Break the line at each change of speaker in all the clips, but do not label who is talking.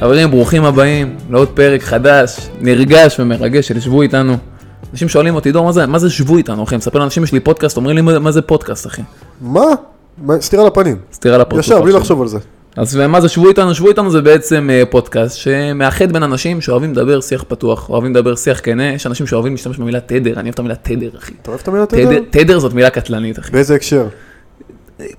חברים, ברוכים הבאים לעוד פרק חדש, נרגש ומרגש של שבו איתנו. אנשים שואלים אותי, דור, מה זה, מה זה שבו איתנו, אחי? מספר לאנשים, יש לי פודקאסט, אומרים לי, "מה- מה זה פודקאסט, אחי?
מה? מה? סטירה לפנים.
סתירה לפרצוף.
ישר, בלי
עכשיו.
לחשוב על זה.
אז מה זה שבו איתנו? שבו איתנו זה בעצם אה, פודקאסט שמאחד בין אנשים שאוהבים לדבר שיח פתוח, אוהבים לדבר שיח כנה, יש אנשים שאוהבים להשתמש במילה תדר, אני אוהב את המילה תדר, אחי.
אתה אוהב את המילה תדר?
תדר, תדר זאת מילה קטלנית, אחי.
באיזה הקשר?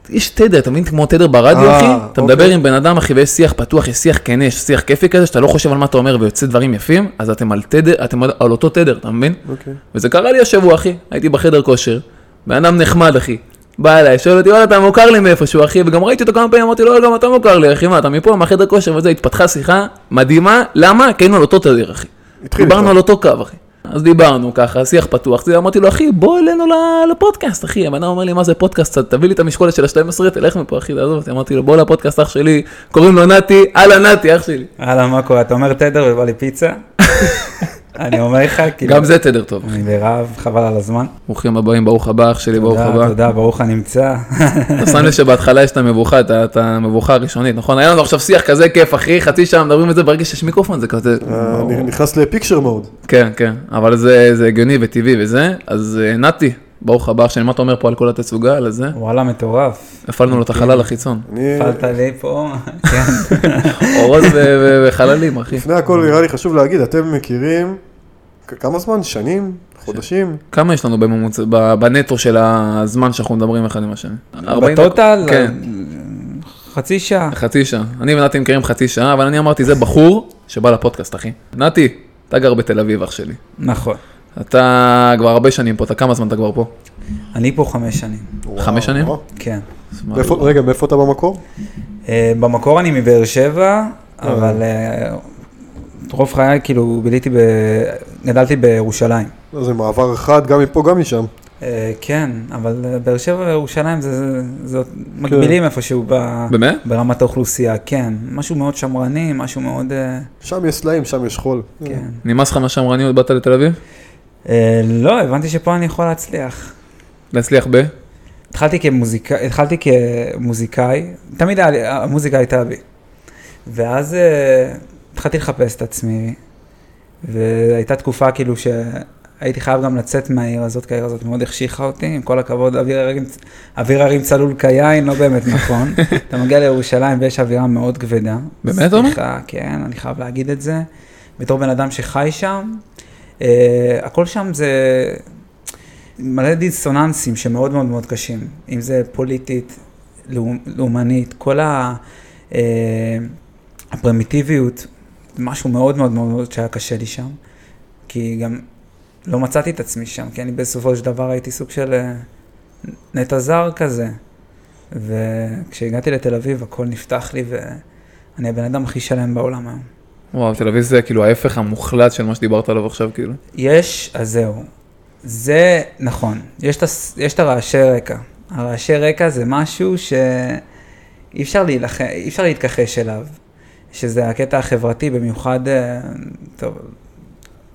יש תדר, אתה מבין? כמו תדר ברדיו,
אה,
אחי. אתה
אוקיי.
מדבר עם בן אדם, אחי, ויש שיח פתוח, יש שיח כנה, יש שיח כיפי כזה, שאתה לא חושב על מה אתה אומר ויוצא דברים יפים, אז אתם על תדר, אתם על על אותו תדר, אתה מבין?
אוקיי.
וזה קרה לי השבוע, אחי. הייתי בחדר כושר, בן אדם נחמד, אחי. בא אליי, שואל אותי, וואלה, אתה מוכר לי מאיפשהו, אחי, וגם ראיתי אותו כמה פעמים, אמרתי, לא, גם אתה מוכר לי, אחי, מה, אתה מפה, מהחדר כושר וזה, התפתחה שיחה מדהימה, למה? כי היינו על אותו תדר, אחי.
התחיל
דיברנו
איתך.
על אותו קו, אחי. אז דיברנו ככה, שיח פתוח, זה, אמרתי לו, אחי, בוא אלינו ל- לפודקאסט, אחי. הבן אדם אומר לי, מה זה פודקאסט, תביא לי את המשקולת של ה-12, תלך מפה, אחי, תעזוב אותי. אמרתי לו, בוא לפודקאסט, אח שלי, קוראים לו נתי, אהלן נתי, אח שלי.
אהלן, מה קורה? אתה אומר תדר ובא לי פיצה? אני אומר לך, כאילו,
גם זה תדר טוב.
אני ברעב, חבל על הזמן.
ברוכים הבאים, ברוך הבא, אח שלי, ברוך
תודה,
הבא.
תודה, ברוך הנמצא.
אתה שם לב שבהתחלה יש את המבוכה, את ה- את המבוכה הראשונית, נכון? היה לנו עכשיו שיח כזה כיף, אחי, חצי שעה מדברים את זה ברגע שיש מיקרופון, זה כזה...
אה, אני נכנס לפיקשר מוד.
כן, כן, אבל זה זה הגיוני וטבעי וזה. אז אה, נתי, ברוך הבא, עכשיו, מה אתה אומר פה על כל התצוגה, על זה?
וואלה, מטורף.
הפעלנו לו את החלל החיצון.
אני...
נפלת לי פה, כן.
אורות ו- ו- וחללים, אחי.
לפני הכל נראה לי חשוב להגיד, אתם מכירים... כ- כמה זמן? שנים? חודשים?
כמה יש לנו בממוצע, ב- בנטו של הזמן שאנחנו מדברים אחד עם השני? 40 דקות?
בטוטל,
כן.
חצי שעה.
אה,
חצי שעה. אני ונתי מכירים חצי שעה, אבל אני אמרתי, זה בחור שבא לפודקאסט, אחי. נתי, אתה גר בתל אביב, אח שלי.
נכון.
אתה כבר הרבה שנים פה, אתה כמה זמן אתה כבר פה?
אני פה חמש שנים,
חמש שנים?
וואו.
כן.
מאיפה- רגע, מאיפה אתה במקור?
אה, במקור אני מבאר שבע, אבל אה, רוב חיי, כאילו, ביליתי ב... גדלתי בירושלים.
לא, זה מעבר חד, גם מפה, גם משם.
אה, כן, אבל אה, באר שבע וירושלים זה, זה, זה
כן.
מקבילים איפשהו ב,
באמת?
ברמת האוכלוסייה, כן. משהו מאוד שמרני, משהו מאוד... אה,
שם יש סלעים, שם יש חול.
כן.
נמאס לך מהשמרניות, באת לתל אביב?
אה, לא, הבנתי שפה אני יכול להצליח.
להצליח ב?
התחלתי, כמוזיקא, התחלתי כמוזיקאי, תמיד היה לי- המוזיקה הייתה בי. ואז אה, התחלתי לחפש את עצמי, והייתה תקופה כאילו שהייתי חייב גם לצאת מהעיר הזאת, כי העיר הזאת מאוד החשיכה אותי, עם כל הכבוד, אוויר הרים, אוויר הרים צלול כיין, לא באמת נכון. אתה מגיע לירושלים ויש אווירה מאוד כבדה.
באמת, עומר?
סליחה, כן, אני חייב להגיד את זה. בתור בן אדם שחי שם, אה, הכל שם זה מלא דיסוננסים שמאוד מאוד מאוד קשים, אם זה פוליטית, לאומ- לאומנית, כל ה... אה, הפרימיטיביות, משהו מאוד מאוד מאוד שהיה קשה לי שם, כי גם לא מצאתי את עצמי שם, כי אני בסופו של דבר הייתי סוג של אה, נטע זר כזה. וכשהגעתי לתל אביב הכל נפתח לי ואני הבן אדם הכי שלם בעולם היום.
וואו, תל אביב זה כאילו ההפך המוחלט של מה שדיברת עליו עכשיו, כאילו.
יש, אז זהו. זה נכון, יש את, הס- יש את הרעשי רקע. הרעשי רקע זה משהו שאי אפשר, להילח... אי אפשר להתכחש אליו, שזה הקטע החברתי במיוחד, אה, טוב,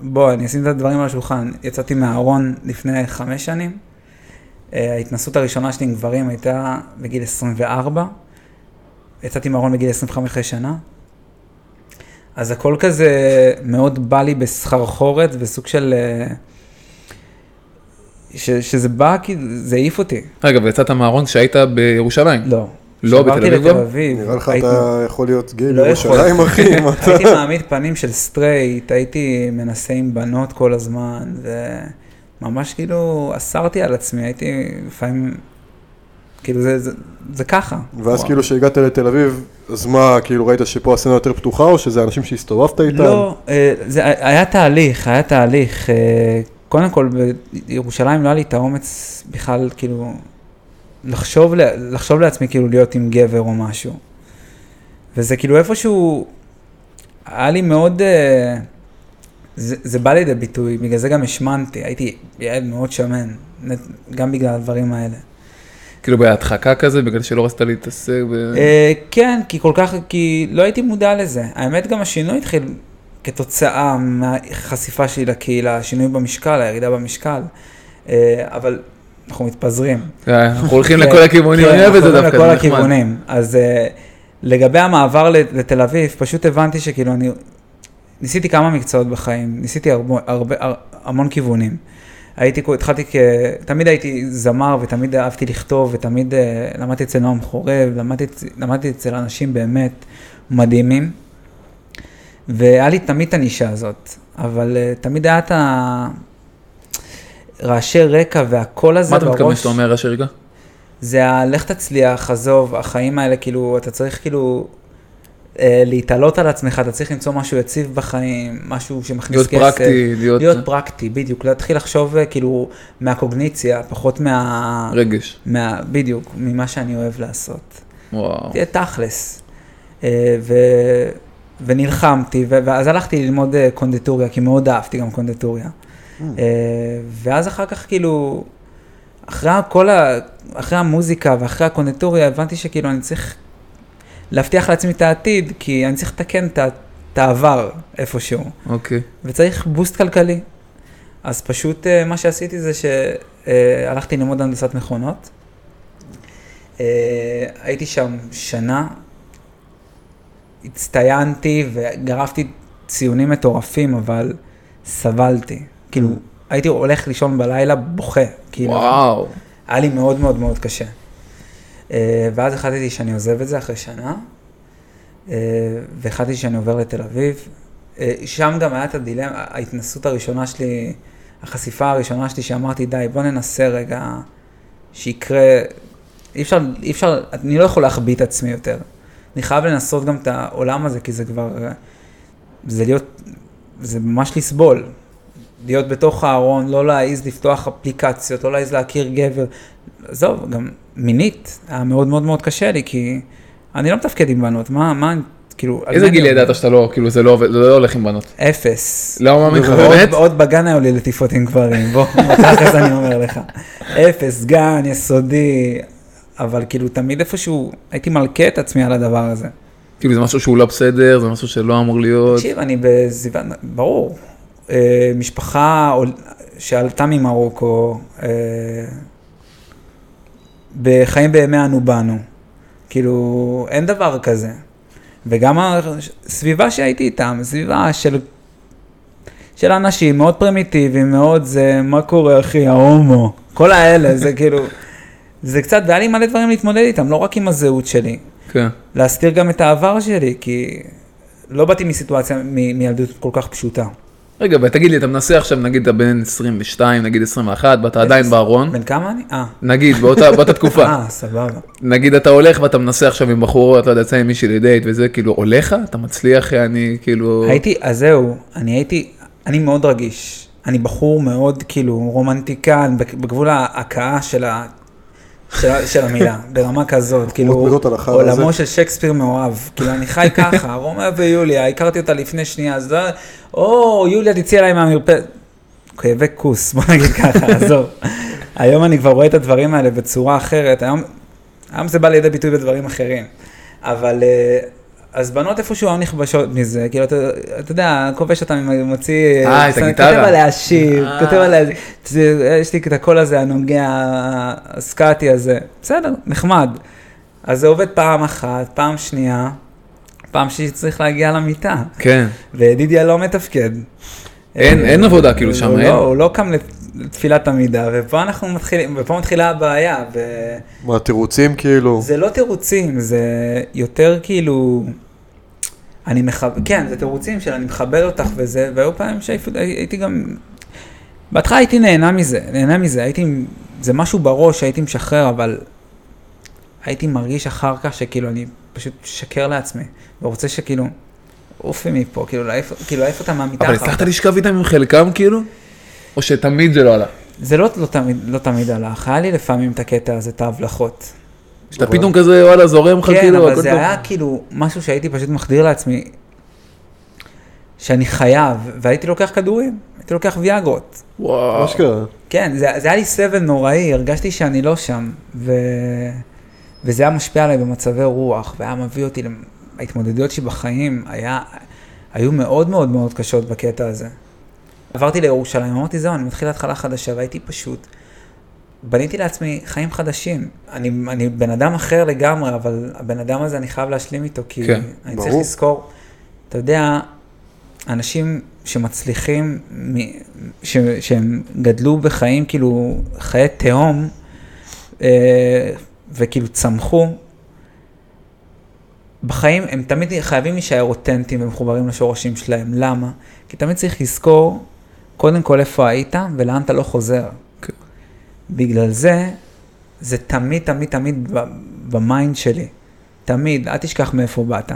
בוא, אני אשים את הדברים על השולחן. יצאתי מהארון לפני חמש שנים. אה, ההתנסות הראשונה שלי עם גברים הייתה בגיל 24. יצאתי מהארון בגיל 25 שנה. אז הכל כזה מאוד בא לי בסחרחורת וסוג של... אה, ש, שזה בא, כאילו, זה העיף אותי.
רגע, ויצאת מהארון כשהיית בירושלים.
לא.
לא, בתל
כשעברתי
אביב גם?
לתל אביב.
אה, נראה לך
הייתי-
אתה יכול להיות גיי
לא
בירושלים,
יכול.
אחי? מה אתה-
הייתי מעמיד פנים של סטרייט, הייתי מנסה עם בנות כל הזמן, וממש כאילו אסרתי על עצמי, הייתי לפעמים, כאילו זה, זה, זה ככה.
ואז כאילו שהגעת לתל אביב, אז מה, כאילו ראית שפה הסצנה יותר פתוחה, או שזה אנשים שהסתובבת איתם?
לא, אה, זה היה תהליך, היה תהליך. אה, קודם כל, בירושלים לא היה לי את האומץ בכלל, כאילו, לחשוב, ל- לחשוב לעצמי כאילו להיות עם גבר או משהו. וזה כאילו איפשהו, היה לי מאוד, אה, זה, זה בא לידי ביטוי, בגלל זה גם השמנתי, הייתי ילד מאוד שמן, נט- גם בגלל הדברים האלה.
כאילו בהדחקה כזה, בגלל שלא רצית להתעסק ב...
אה, כן, כי כל כך, כי לא הייתי מודע לזה. האמת, גם השינוי התחיל כתוצאה מהחשיפה שלי לקהילה, השינוי במשקל, הירידה במשקל, אה, אבל אנחנו מתפזרים.
אה, אנחנו הולכים לכל הכיוונים, אני אוהב את זה
כן,
דווקא,
אנחנו הולכים
זה
לכל
נחמד.
הכיוונים. אז אה, לגבי המעבר לת- לתל אביב, פשוט הבנתי שכאילו אני... ניסיתי כמה מקצועות בחיים, ניסיתי הרבה, הרבה, הר- המון כיוונים. הייתי, כו- התחלתי כ... תמיד הייתי זמר ותמיד אהבתי לכתוב ותמיד אה, למדתי אצל נועם חורב, למדתי, אצ- למדתי אצל אנשים באמת מדהימים. והיה לי תמיד את הנישה הזאת, אבל אה, תמיד היה את ה... רעשי רקע והקול הזה
מה
בראש.
אתה מתכוון שאתה אומר, אשר רגע?
זה הלך תצליח, עזוב, החיים האלה, כאילו, אתה צריך כאילו אה, להתעלות על עצמך, אתה צריך למצוא משהו יציב בחיים, משהו שמכניס
להיות
כסף.
פרקטי, להיות
להיות פרקטי, בדיוק, להתחיל לחשוב אה, כאילו מהקוגניציה, פחות מה...
רגש.
מה... בדיוק, ממה שאני אוהב לעשות.
וואו.
תהיה תכלס. אה, ו... ונלחמתי, ו... ואז הלכתי ללמוד אה, קונדיטוריה, כי מאוד אהבתי גם קונדיטוריה. אה, ואז אחר כך כאילו, אחרי כל ה... אחרי המוזיקה ואחרי הקונדיטוריה, הבנתי שכאילו אני צריך להבטיח לעצמי את העתיד, כי אני צריך לתקן את ה- את העבר איפשהו.
אוקיי.
וצריך בוסט כלכלי. אז פשוט אה, מה שעשיתי זה שהלכתי ללמוד הנדסת מכונות. אה, הייתי שם שנה, הצטיינתי וגרפתי ציונים מטורפים, אבל סבלתי. כאילו, הייתי הולך לישון בלילה בוכה. כאילו,
וואו.
היה לי מאוד מאוד מאוד קשה. אה, ואז החלטתי שאני עוזב את זה אחרי שנה, אה, והחלטתי שאני עובר לתל אביב. אה, שם גם היה את הדילמה, ההתנסות הראשונה שלי, החשיפה הראשונה שלי, שאמרתי, די, בוא ננסה רגע שיקרה, אי אפשר, אי אפשר, אני לא יכול להחביא את עצמי יותר. אני חייב לנסות גם את העולם הזה, כי זה כבר, אה, זה להיות, זה ממש לסבול. להיות בתוך הארון, לא להעז לפתוח אפליקציות, לא להעז להכיר גבר. עזוב, גם מינית היה מאוד מאוד מאוד קשה לי, כי אני לא מתפקד עם בנות, מה, מה, כאילו... על
איזה
מה
גיל
אני-
ידעת שאתה לא, כאילו, זה לא עובד- זה לא הולך עם בנות?
אפס.
לא מאמין לך,
עוד-
באמת?
עוד בגן היו לי לטיפות עם גברים, בוא, תכלס אני אומר לך. אפס, גן, יסודי, אבל כאילו תמיד איפשהו, הייתי מלכה את עצמי על הדבר הזה.
כאילו זה משהו שהוא לא בסדר, זה משהו שלא אמור להיות.
תקשיב, אני בזיוון, ברור. אה, משפחה עול- שעלתה ממרוקו, אה, בחיים בימי אנו באנו. כאילו, אין דבר כזה. וגם הסביבה שהייתי איתם, סביבה של, של אנשים מאוד פרימיטיביים, מאוד זה, מה קורה אחי, ההומו, כל האלה, זה כאילו, זה קצת, והיה לי מלא דברים להתמודד איתם, לא רק עם הזהות שלי.
כן.
להסתיר גם את העבר שלי, כי לא באתי מסיטואציה, מ- מילדות כל כך פשוטה.
רגע, ותגיד לי, אתה מנסה עכשיו, נגיד אתה בן 22, נגיד 21, ואתה עדיין בארון,
בן כמה אני? אה.
נגיד, באותה באותה תקופה,
אה, סבבה.
נגיד אתה הולך ואתה מנסה עכשיו עם בחורות, לא יודע, יוצא עם מישהי לדייט וזה, כאילו, עולה לך? אתה מצליח, אני כאילו...
הייתי, אז זהו, אני הייתי, אני מאוד רגיש. אני בחור מאוד כאילו רומנטיקן, בק- בגבול ההכאה של ה... של, ה- של המילה, ברמה כזאת, כאילו,
מידות על החרא
עולמו
הזה.
של שייקספיר מאוהב, כאילו אני חי ככה, רומא ויוליה, הכרתי אותה לפני שנייה, אז לא, או, יוליה תצא אליי מהמרפאת, כאבי כוס, בוא נגיד ככה, עזוב. היום אני כבר רואה את הדברים האלה בצורה אחרת, היום, היום זה בא לידי ביטוי בדברים אחרים. אבל אה, אז בנות איפשהו היו נכבשות מזה, כאילו, אתה, אתה יודע, כובש אותם, עם- מוציא...
אה, את
כותב
הגיטרה.
עליה שיר,
אה.
כותב עליה... זה- יש לי את הקול הזה, הנוגע, הסקאטי הזה. בסדר, נחמד. אז זה עובד פעם אחת, פעם שנייה, פעם שלישית צריך להגיע למיטה.
כן.
וידידיה לא מתפקד.
אין-
אה,
אין עבודה, כאילו, שם,
הוא
אין?
לא- הוא לא קם לתפילת עמידה, ופה אנחנו מתחילים, ופה מתחילה הבעיה, וזה
מה, תירוצים כאילו?
לא תירוצים, זה יותר כאילו... אני מחבר, כן, זה תירוצים של אני מכבד אותך וזה, והיו פעמים שהייתי גם... בהתחלה הייתי נהנה מזה, נהנה מזה, הייתי, זה משהו בראש שהייתי משחרר, אבל הייתי מרגיש אחר כך שכאילו אני פשוט משקר לעצמי, ורוצה שכאילו, עופי מפה, כאילו להעיף כאילו, להעיף אותה מהמיטה
אבל
אחר כך.
הצלחת לשכב איתם עם חלקם, כאילו? או שתמיד זה לא עלה?
זה לא, לא, תמיד, לא תמיד הלך, היה לי לפעמים את הקטע הזה, את ההבלחות.
שאתה פתאום כזה, וואלה, זורם לך,
אוקיי. כן,
כאילו,
אבל
הכל
זה
טוב.
היה כאילו משהו שהייתי פשוט מחדיר לעצמי, שאני חייב, והייתי לוקח כדורים, הייתי לוקח ויאגרות.
וואו.
אשכרה.
כן, זה, זה היה לי סבל נוראי, הרגשתי שאני לא שם, ו... וזה היה משפיע עליי במצבי רוח, והיה מביא אותי, למ- ההתמודדויות שלי בחיים היה, היו מאוד מאוד מאוד קשות בקטע הזה. עברתי לירושלים, אמרתי זהו, אני מתחיל התחלה חדשה, והייתי פשוט בניתי לעצמי חיים חדשים. אני, אני בן אדם אחר לגמרי, אבל הבן אדם הזה, אני חייב להשלים איתו, כי
כן,
כן, אני ברור. צריך
ברור.
לזכור, אתה יודע, אנשים שמצליחים, מ, ש, שהם גדלו בחיים, כאילו, חיי תהום, אה, וכאילו צמחו, בחיים הם תמיד חייבים להישאר אותנטיים ומחוברים לשורשים שלהם. למה? כי תמיד צריך לזכור, קודם כל איפה היית ולאן אתה לא חוזר.
כן.
בגלל זה, זה תמיד, תמיד, תמיד ב- במיינד שלי. תמיד, אל תשכח מאיפה באת.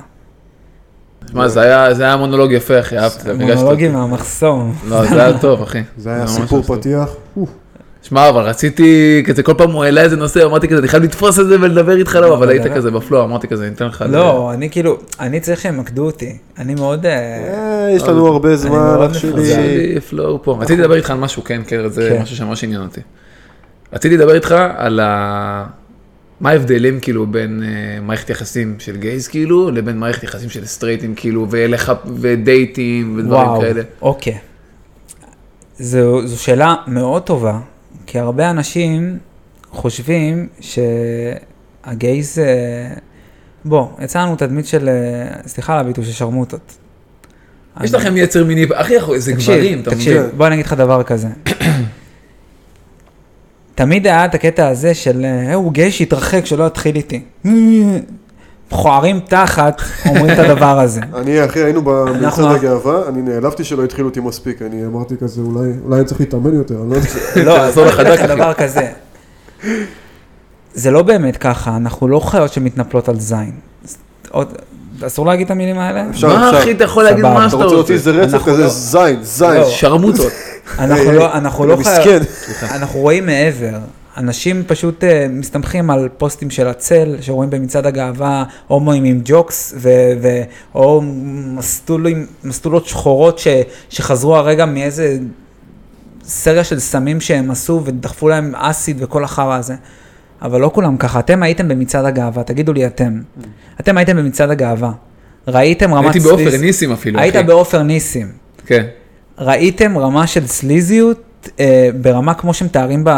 שמע, זה היה- זה היה מונולוג יפה, אחי, אהבתי את זה. ריגשת אותי.
מונולוגים מהמחסום.
לא, זה היה טוב, אחי.
זה היה
ממש
סיפור
היה טוב.
פתיח. אוף.
שמע, אבל רציתי, כזה כל פעם הוא העלה איזה נושא, אמרתי כזה, אני חייב לתפוס את זה ולדבר איתך, לא, אבל היית
אבל-
כזה בפלואו, אמרתי כזה, אני אתן לך...
לא, אני כאילו, אני צריך שימקדו אותי. אני מאוד... אה,
אה, יש לנו הרבה זמן,
מאוד
אח
זה
מפרגן.
שלי.
רציתי פלואו פה. רציתי לדבר איתך על משהו, כן, כן, זה
נכון. כן.
משהו שממש עניין אותי. רציתי לדבר איתך על ה... מה ההבדלים כאילו בין אה, מערכת יחסים של גייז כאילו, לבין מערכת יחסים של סטרייטים כאילו, ולח... ודייטים
וואו,
ודברים כאלה.
אוקיי. זו, זו שאלה מאוד טובה, כי הרבה אנשים חושבים שהגייז... אה, בוא, יצרנו תדמית של, אה, סליחה על הביטוי, של שרמוטות.
יש
אני-
לכם יצר מיני, אחי, אנחנו- זה גברים, אתה מבין?
תקשיב, בוא אני אגיד לך דבר כזה. תמיד היה את הקטע הזה של, אה, הוא גיי שיתרחק, שלא יתחיל איתי. מכוערים תחת, אומרים את הדבר הזה.
אני אחי היינו במצעד
אנחנו- אה-
הגאווה, אני נעלבתי שלא התחילו אותי מספיק, אני אמרתי כזה אולי אולי אני צריך להתאמן יותר, אני לא יודע.
לא, אז
תעזור
אני
לך
אגיד לך
דק, אחי.
דבר כזה. זה לא באמת ככה, אנחנו לא חיות שמתנפלות על זין. אז עוד- אסור להגיד את המילים האלה?
אפשר,
מה אחי, אתה יכול להגיד
סבבה.
מה
אתה
שאתה
רוצה
רוצה.
להוציא איזה רצף
אנחנו
כזה
לא-
זין, זין.
לא.
שרמוטות.
אנחנו
אה,
היי,
לא,
היי,
אנחנו לא חיות,
מסכן.
אנחנו רואים מעבר. אנשים פשוט אה, מסתמכים על פוסטים של הצל, שרואים במצעד הגאווה הומואים עם ג'וקס, ו- ו- או מסטולים- מסטולות שחורות ש- שחזרו הרגע מאיזה סריה של סמים שהם עשו ודחפו להם אסיד וכל החרא הזה. אבל לא כולם ככה, אתם הייתם במצעד הגאווה, תגידו לי אתם. אתם הייתם במצעד הגאווה. ראיתם
Mm.
רמת
הייתי
סליס...
בעופר ניסים אפילו, אחי.
היית בעופר ניסים.
כן.
ראיתם רמה של סליזיות אה, ברמה כמו שמתארים ב,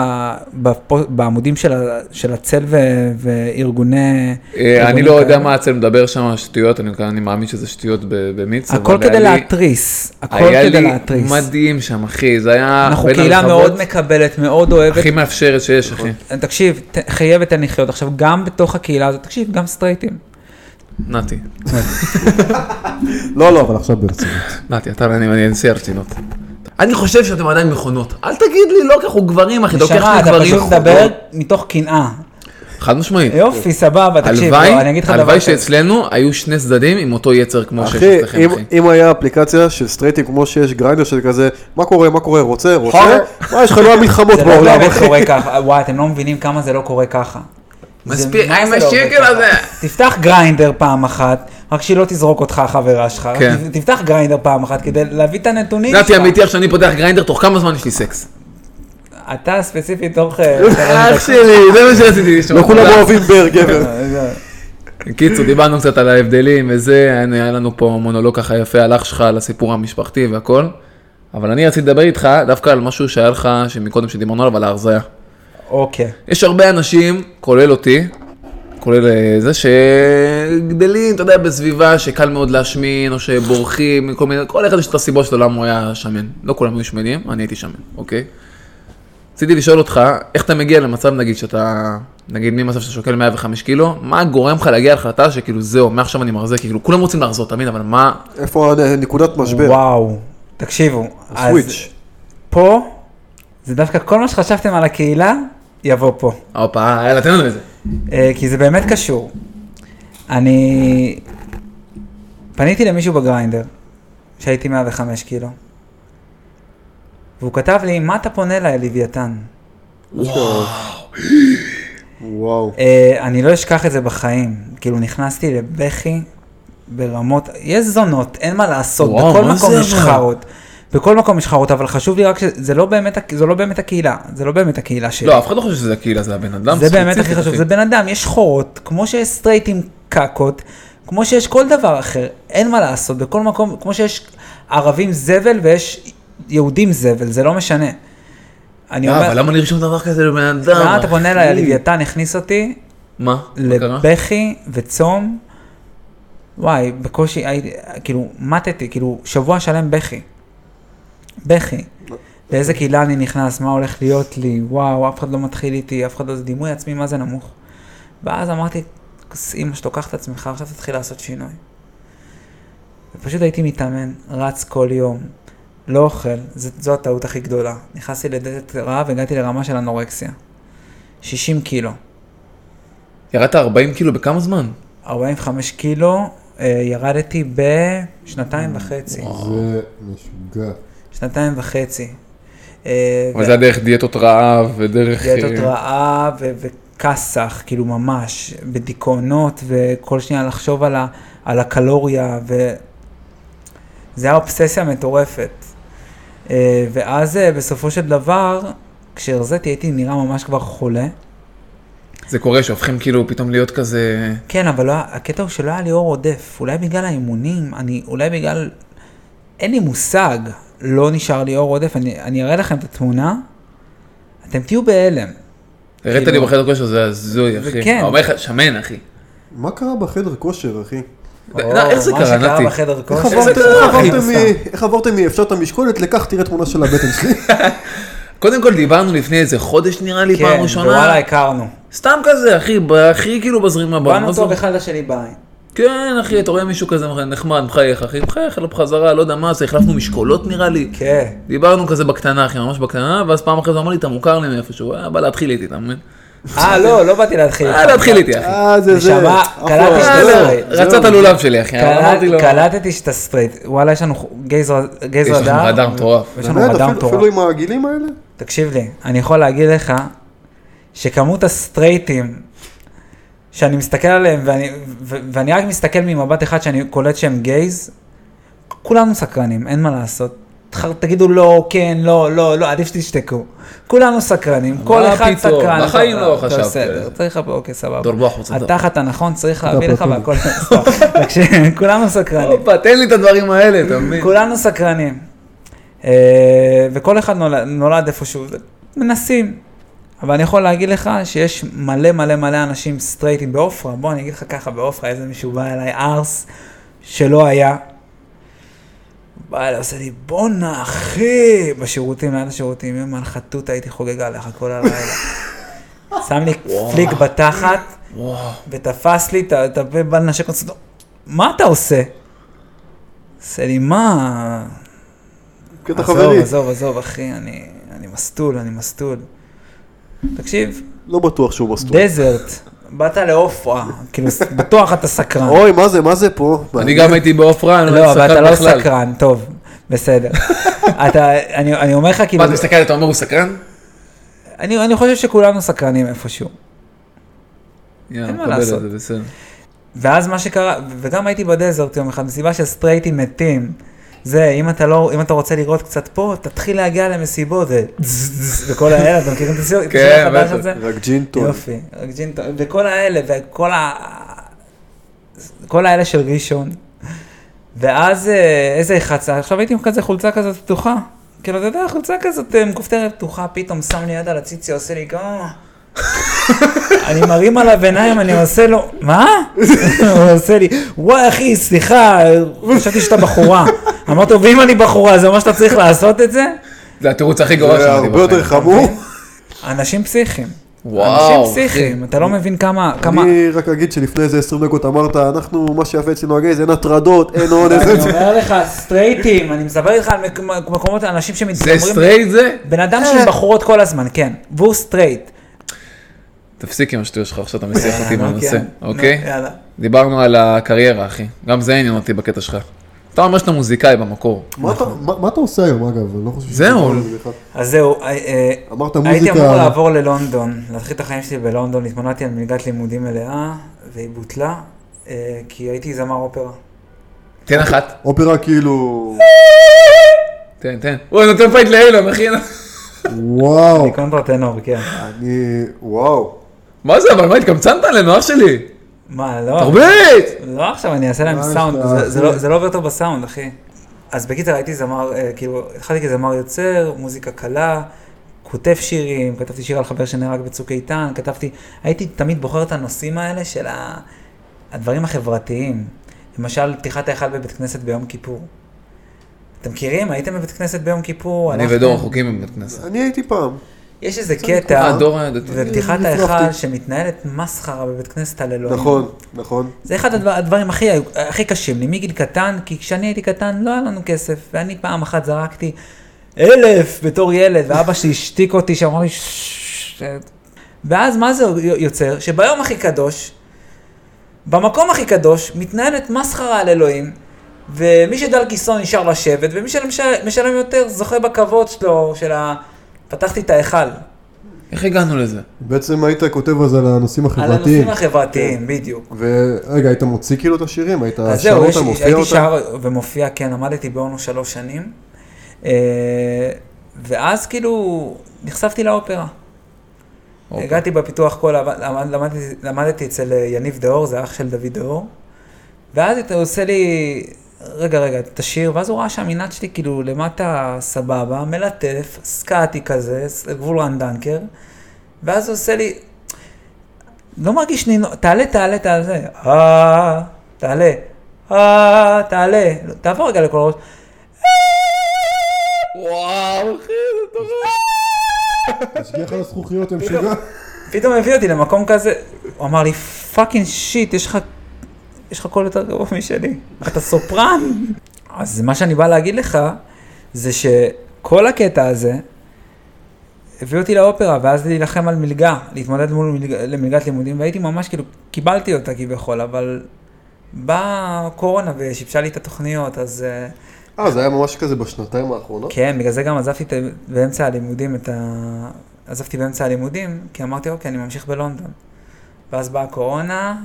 בפו- בעמודים של, ה, של הצל ו, וארגוני...
אה, אני
ארגונים
לא יודע
כאלה.
מה הצל מדבר שם, שטויות, אני אני מאמין שזה שטויות ב- במיץ.
הכל
אבל היה
כדי
לי-
להתריס, הכל
היה
כדי
לי
להתריס.
מדהים שם, אחי, זה היה...
אנחנו
בין
קהילה
הרחבות
מאוד מקבלת, מאוד אוהבת.
הכי מאפשרת שיש, אחי.
תקשיב, ת- חיה ותן לחיות. עכשיו, גם בתוך הקהילה הזאת, תקשיב, גם סטרייטים.
נתי,
לא, לא, אבל עכשיו ברצינות.
נתי, אתה ואני אני נשיא הרצינות. אני חושב שאתם עדיין מכונות. אל תגיד לי, לא, כי אנחנו גברים, אחי, אתה לוקח
נשמה,
לי
אתה
גברים.
פשוט מדבר מתוך קנאה.
חד משמעית.
יופי, סבבה, תקשיב,
הלוואי,
לא, אני אגיד לך דבר
הלוואי
כזה.
שאצלנו היו שני צדדים עם אותו יצר כמו שיש
אחי,
אצלכם,
אם-
אחי.
אם היה אפליקציה של סטרייטים כמו שיש גריינדר של כזה, מה קורה, מה קורה, רוצה, רוצה,
חור.
מה יש לך, לא המלחמות
זה לא
בעולם,
באמת
אחי.
קורה ככה, וואי, אתם לא מבינים כמה זה לא קורה ככה.
מספיק,
מה
עם
זה לא עובד
השקל
ככה?
הזה.
תפתח גריינדר פעם אחת, רק שהיא לא תזרוק אותך החברה שלך.
כן.
ת- תפתח גריינדר פעם אחת כדי להביא את הנתונים
נתי אמיתי, עכשיו אני פותח גריינדר, תוך כמה זמן יש לי סקס?
אתה ספציפית תוך... אה,
אח שלי, זה מה שרציתי לשמוע.
לא כולם
תודה.
אוהבים בר, גבר.
קיצור, דיברנו קצת על ההבדלים וזה, הנה, היה לנו פה מונולוג ככה יפה על אח שלך, על הסיפור המשפחתי והכל. אבל אני רציתי לדבר איתך דווקא על משהו שהיה לך, שמקודם שדיברנו עליו, על ההרזייה.
אוקיי.
יש הרבה אנשים, כולל אותי, כולל אה, זה, שגדלים, אתה יודע, בסביבה שקל מאוד להשמין, או שבורחים, כל מיני, כל אחד יש את הסיבות שלו למה הוא היה שמן. לא כולם היו שמנים, אני הייתי שמן, אוקיי? רציתי לשאול אותך, איך אתה מגיע למצב, נגיד, שאתה, נגיד, ממצב שאתה שוקל 105 קילו, מה גורם לך להגיע להחלטה שכאילו, זהו, מעכשיו אני מרזה, כאילו, כולם רוצים להרזות, אתה מבין, אבל מה...
איפה הנ- נקודת משבר?
וואו. תקשיבו, אז
סוויץ'.
פה, זה דווקא כל מה שחשבתם על הקהילה, יבוא פה.
הופה, יאללה, תן לנו את זה.
אה, כי זה באמת קשור. אני פניתי למישהו בגריינדר, שהייתי 105 קילו, והוא כתב לי, מה אתה פונה אליי, לוויתן?
וואו.
אה, אני לא אשכח את זה בחיים. כאילו, נכנסתי לבכי ברמות, יש זונות, אין מה לעשות,
וואו,
בכל
מה
מקום
זה
יש
אבל?
חארות. בכל מקום יש חארות, אבל חשוב לי רק שזה לא באמת, הק- זו לא באמת הקהילה, זה לא באמת הקהילה שלי.
לא, אף אחד לא חושב שזה הקהילה, זה הבן אדם.
זה באמת
ספציפית,
הכי חשוב,
אחי.
זה בן אדם, יש שחורות, כמו שיש סטרייטים קקות, כמו שיש כל דבר אחר, אין מה לעשות, בכל מקום, כמו שיש ערבים זבל ויש יהודים זבל, זה לא משנה. אני
אה,
אומר,
אבל למה לרשום דבר כזה לבן אדם?
למה אתה פונה אליי?
אחי?
הלוויתן הכניס אותי
מה? מה קרה?
לבכי וצום. וואי, בקושי, הייתי, כאילו, מתתי, כאילו, שבוע שלם בכי. בכי. לאיזה קהילה אני נכנס, מה הולך להיות לי, וואו, אף אחד לא מתחיל איתי, אף אחד לא, זה דימוי עצמי, מה זה נמוך. ואז אמרתי, כוס אימא שלו, קח את עצמך, עכשיו תתחיל לעשות שינוי. ופשוט הייתי מתאמן, רץ כל יום, לא אוכל, ז, זו הטעות הכי גדולה. נכנסתי לדלת רעב, הגעתי לרמה של אנורקסיה. 60 קילו.
ירדת 40 קילו בכמה זמן?
45 קילו, אה, ירדתי בשנתיים וחצי.
זה משוגע.
שנתיים וחצי. אה,
אבל זה היה דרך דיאטות רעב ודרך...
דיאטות
אה,
רעב ו- וכסח, כאילו ממש, בדיכאונות, וכל שנייה לחשוב על, ה- על הקלוריה, וזה היה אובססיה מטורפת. אה, ואז אה, בסופו של דבר, כשהרזיתי הייתי נראה ממש כבר חולה.
זה קורה שהופכים כאילו פתאום להיות כזה...
כן, אבל לא, היה- הקטע הוא שלא היה לי אור עודף. אולי בגלל האימונים, אני, אולי בגלל... אין לי מושג, לא נשאר לי אור עודף. אני, אני אראה לכם את התמונה, אתם תהיו בהלם.
הראית לי
כאילו-
בחדר כושר, זה הזוי, אחי.
וכן.
הוא אומר לך, שמן, אחי.
מה קרה בחדר כושר, אחי?
לא, איך זה
או,
קרה,
מה שקרה
נתי?
בחדר
איך
כושר.
איזה
עברתם-
כוח,
איך
אחי,
עברתם מ- איך עברתם מאפשר את המשקולת לכך תראה תמונה של הבטן שלי?
קודם כל דיברנו לפני איזה חודש נראה לי, פעם
כן,
ראשונה.
וואלה, הכרנו.
סתם כזה, אחי, ב- הכי כאילו בזרימה בעולם.
באנו טוב אחד לשני בעין.
כן, אחי, אתה רואה מישהו כזה נחמד, מחייך, אחי, מחייך אליו בחזרה, לא יודע מה, זה החלפנו משקולות נראה לי.
כן.
דיברנו כזה בקטנה, אחי, ממש בקטנה, ואז פעם אחרי זה אמר לי, אתה מוכר לי מאיפשהו, היה בא להתחיל איתי, אתה מבין?
אה, לא, לא באתי להתחיל.
היה להתחיל איתי, אחי.
אה, זה זה.
נשמה,
אחלה.
קלטתי
אה,
שאתה
לא,
סטרייט.
רצה את הלולב שלי, אחי,
קלט-
אבל כן, אמרתי לו,
קלטתי שאתה סטרייט. וואלה, יש לנו חו- גייז ר- גייז
יש
רדאר.
לכם רדאר מטורף.
יש לנו
באמת,
רדאר
אפילו-
מטורף.
אפילו עם העגילים האלה?
תקשיב לי, אני יכול להגיד לך שכמות הסטרייטים שאני מסתכל עליהם ואני, ו- ואני רק מסתכל ממבט אחד שאני קולט שהם גייז, כולנו סקרנים, אין מה לעשות. תח- תגידו לא, כן, לא, לא, לא, עדיף שתשתקו. כולנו סקרנים, כל
מה
אחד
פתאום?
סקרן.
בחיים
אתה-
לא
אתה
חשבתי על
בסדר,
זה.
צריך, אוקיי, סבבה.
דור, בוא החוצה, דור.
התחת הנכון צריך להביא לך
הפרטובי.
והכל... סתם. תקשיב, כולנו סקרנים.
הופה, תן לי את הדברים האלה, אתה מבין?
כולנו סקרנים. אה, וכל אחד נולד, נולד איפשהו, מנסים. אבל אני יכול להגיד לך שיש מלא מלא מלא אנשים סטרייטים בעופרה, בוא אני אגיד לך ככה, בעופרה איזה מישהו בא אליי, ארס, שלא היה. בא אליי, עושה לי, בואנה אחי, בשירותים, ליד השירותים, יום על חתות הייתי חוגג עליך כל הלילה. שם לי פליק בתחת,
וואו.
ותפס לי את ה- את הפה, בא לנשק אותו, מה אתה עושה? עושה לי, מה?
קטע
אה,
חברי.
עזוב, עזוב, עזוב, אחי, אני, אני מסטול, אני מסטול. תקשיב,
לא בטוח שהוא מסטור.
דזרט, באת לעופרה, כאילו, ס- בטוח אתה סקרן.
אוי, מה זה, מה זה פה?
אני גם הייתי בעופרה, אני
לא,
לא
אבל אתה לא
הייתי סקרן בכלל.
סקרן, טוב, בסדר. אתה, אני, אני אומר לך, כאילו,
מה, אתה מסתכל, אתה אומר, הוא סקרן?
אני, אני חושב שכולנו סקרנים איפשהו.
יאללה,
אין מה
מקבל את
לעשות.
זה, בסדר.
ואז מה שקרה, ו- וגם הייתי בדזרט יום אחד, מסיבה שסטרייטים מתים. זה, אם אתה לא, אם אתה רוצה לראות קצת פה, תתחיל להגיע למסיבות, זה זזז, וכל האלה, אתם מכירים את הסיור את הסיור
כן,
החדש
בטח.
הזה?
רק ג'ין טון.
יופי, רק ג'ינטון, וכל האלה, וכל ה... כל האלה של ראשון. ואז אה, איזה חצה, עכשיו הייתי עם כזה חולצה כזאת פתוחה. כאילו, אתה יודע, חולצה כזאת אה, מכופתרת פתוחה, פתאום שם לי יד על הציצי, עושה לי כמה... אני מרים עליו עיניים, אני עושה לו, מה? הוא עושה לי, וואי אחי, סליחה, חשבתי שאתה בחורה. אמרתי לו, ואם אני בחורה, זה אומר שאתה צריך לעשות את זה?
זה התירוץ הכי גרוע
זה
שלנו.
הרבה יותר חמור.
אנשים פסיכיים.
וואו,
אנשים פסיכיים, אתה לא מבין כמה, כמה...
אני רק אגיד שלפני איזה 20 דקות אמרת, אנחנו, מה שיפה אצלנו הגייז, אין הטרדות, אין אונס.
אני אומר לך, סטרייטים, אני מדבר איתך על מק- מקומות, אנשים
זה
שמתגמרים.
סטרייט זה?
בן אדם שעם בחורות כל הזמן, כן. והוא סטרייט.
תפסיק עם השטויות שלך,
אה,
עכשיו אתה מסיח אותי
יאללה, נו,
מהנושא,
כן. נו,
אוקיי?
יאללה.
דיברנו על הקריירה, אחי. גם זה עניין אותי בקטע שלך. אתה אומר שאתה מוזיקאי במקור.
מה אתה- מה מה אתה עושה היום, אגב? אני לא חושב
זהו.
שאתה יכול לך.
אז זהו, אה, אה,
אמרת
הייתי
מוזיקה.
אמור לעבור ללונדון, להתחיל את החיים שלי בלונדון, התמודדתי על מלגת לימודים מלאה, והיא בוטלה, אה, כי הייתי זמר אופרה.
תן אחת.
אופרה כאילו...
תן, תן. הוא נותן פייט לאילון, אחי.
וואו.
אני קונטרה טנור, כן.
אני... וואו.
מה זה, אבל מה, התקמצנת עלינו, אח שלי?
מה, לא?
תרבית!
לא עכשיו, אני אעשה להם
מה יש
סאונד,
לך,
זה-
אחי?
זה לא- זה לא עובר טוב בסאונד, אחי. אז בקיצר הייתי זמר, אה, כאילו, התחלתי כזמר יוצר, מוזיקה קלה, כו- כותב שירים, כתבתי שיר על חבר שנהרג בצוק איתן, כתבתי, הייתי תמיד בוחר את הנושאים האלה של ה... הדברים החברתיים. למשל, פתיחת ההיכל בבית כנסת ביום כיפור. אתם מכירים? הייתם בבית כנסת ביום כיפור?
אני
הלכתם?
ודור החוקים הם בכנסת.
אני הייתי פעם.
יש איזה
אה,
קטע,
הדור הדתי.
ופתיחת
אני
ההיכל
נפלפתי.
שמתנהלת מסחרה בבית כנסת על אלוהים.
נכון, נכון.
זה אחד הדבר, הדברים הכי, הכי קשים לי, מגיל קטן, כי כשאני הייתי קטן לא היה לנו כסף, ואני פעם אחת זרקתי אלף בתור ילד, ואבא שלי השתיק אותי שאמר לי "ששש", ואז מה זה יוצר? שביום הכי קדוש, במקום הכי קדוש, מתנהלת מסחרה על אלוהים, ומי שדל כיסו נשאר לשבת, ומי שמשלם יותר זוכה בכבוד שלו, של ה... פתחתי את ההיכל.
איך הגענו לזה?
בעצם
היית כותב אז על הנושאים
על
החברתיים.
הנושאים החברתיים, בדיוק.
ורגע, היית מוציא כאילו את השירים? היית
אז
שר
זהו, יש-
אותם, מופיע
הייתי
אותם?
שר ומופיע, כן, למדתי באונו שלוש שנים. אה, ואז כאילו נחשפתי לאופרה.
אוקיי.
הגעתי בפיתוח קול, למד- למדתי, למדתי אצל אה, יניב דאור, זה אח של דוד דאור. ואז אתה עושה לי, רגע, רגע, תשאיר, ואז הוא ראה שהמנעד שלי כאילו למטה סבבה, מלטף, סקאטי כזה, ס- גבול רן דנקר. ואז הוא עושה לי, לא מרגיש נינו, תעלה, תעלה, תעלה, אה, תעלה, אה, תעלה, לא, תעבור רגע לכל הראש.
וואו, אחי, זה מטורף.
תשגיח על הזכוכיות, הם שירה.
פתאום הביא אותי למקום כזה, הוא אמר לי, פאקינג שיט, יש לך, יש לך קול יותר גרוע משלי, אתה סופרן. אז מה שאני בא להגיד לך, זה שכל הקטע הזה, הביא אותי לאופרה, ואז להילחם על מלגה, להתמודד מול מלג... למלגת לימודים, והייתי ממש כאילו, קיבלתי אותה כביכול, אבל באה קורונה ושיבשה לי את התוכניות, אז... אה,
אה, זה היה ממש כזה בשנתיים האחרונות?
כן, בגלל זה גם עזבתי את ה- באמצע הלימודים את ה... עזבתי באמצע הלימודים, כי אמרתי, אוקיי, אני ממשיך בלונדון. ואז באה הקורונה,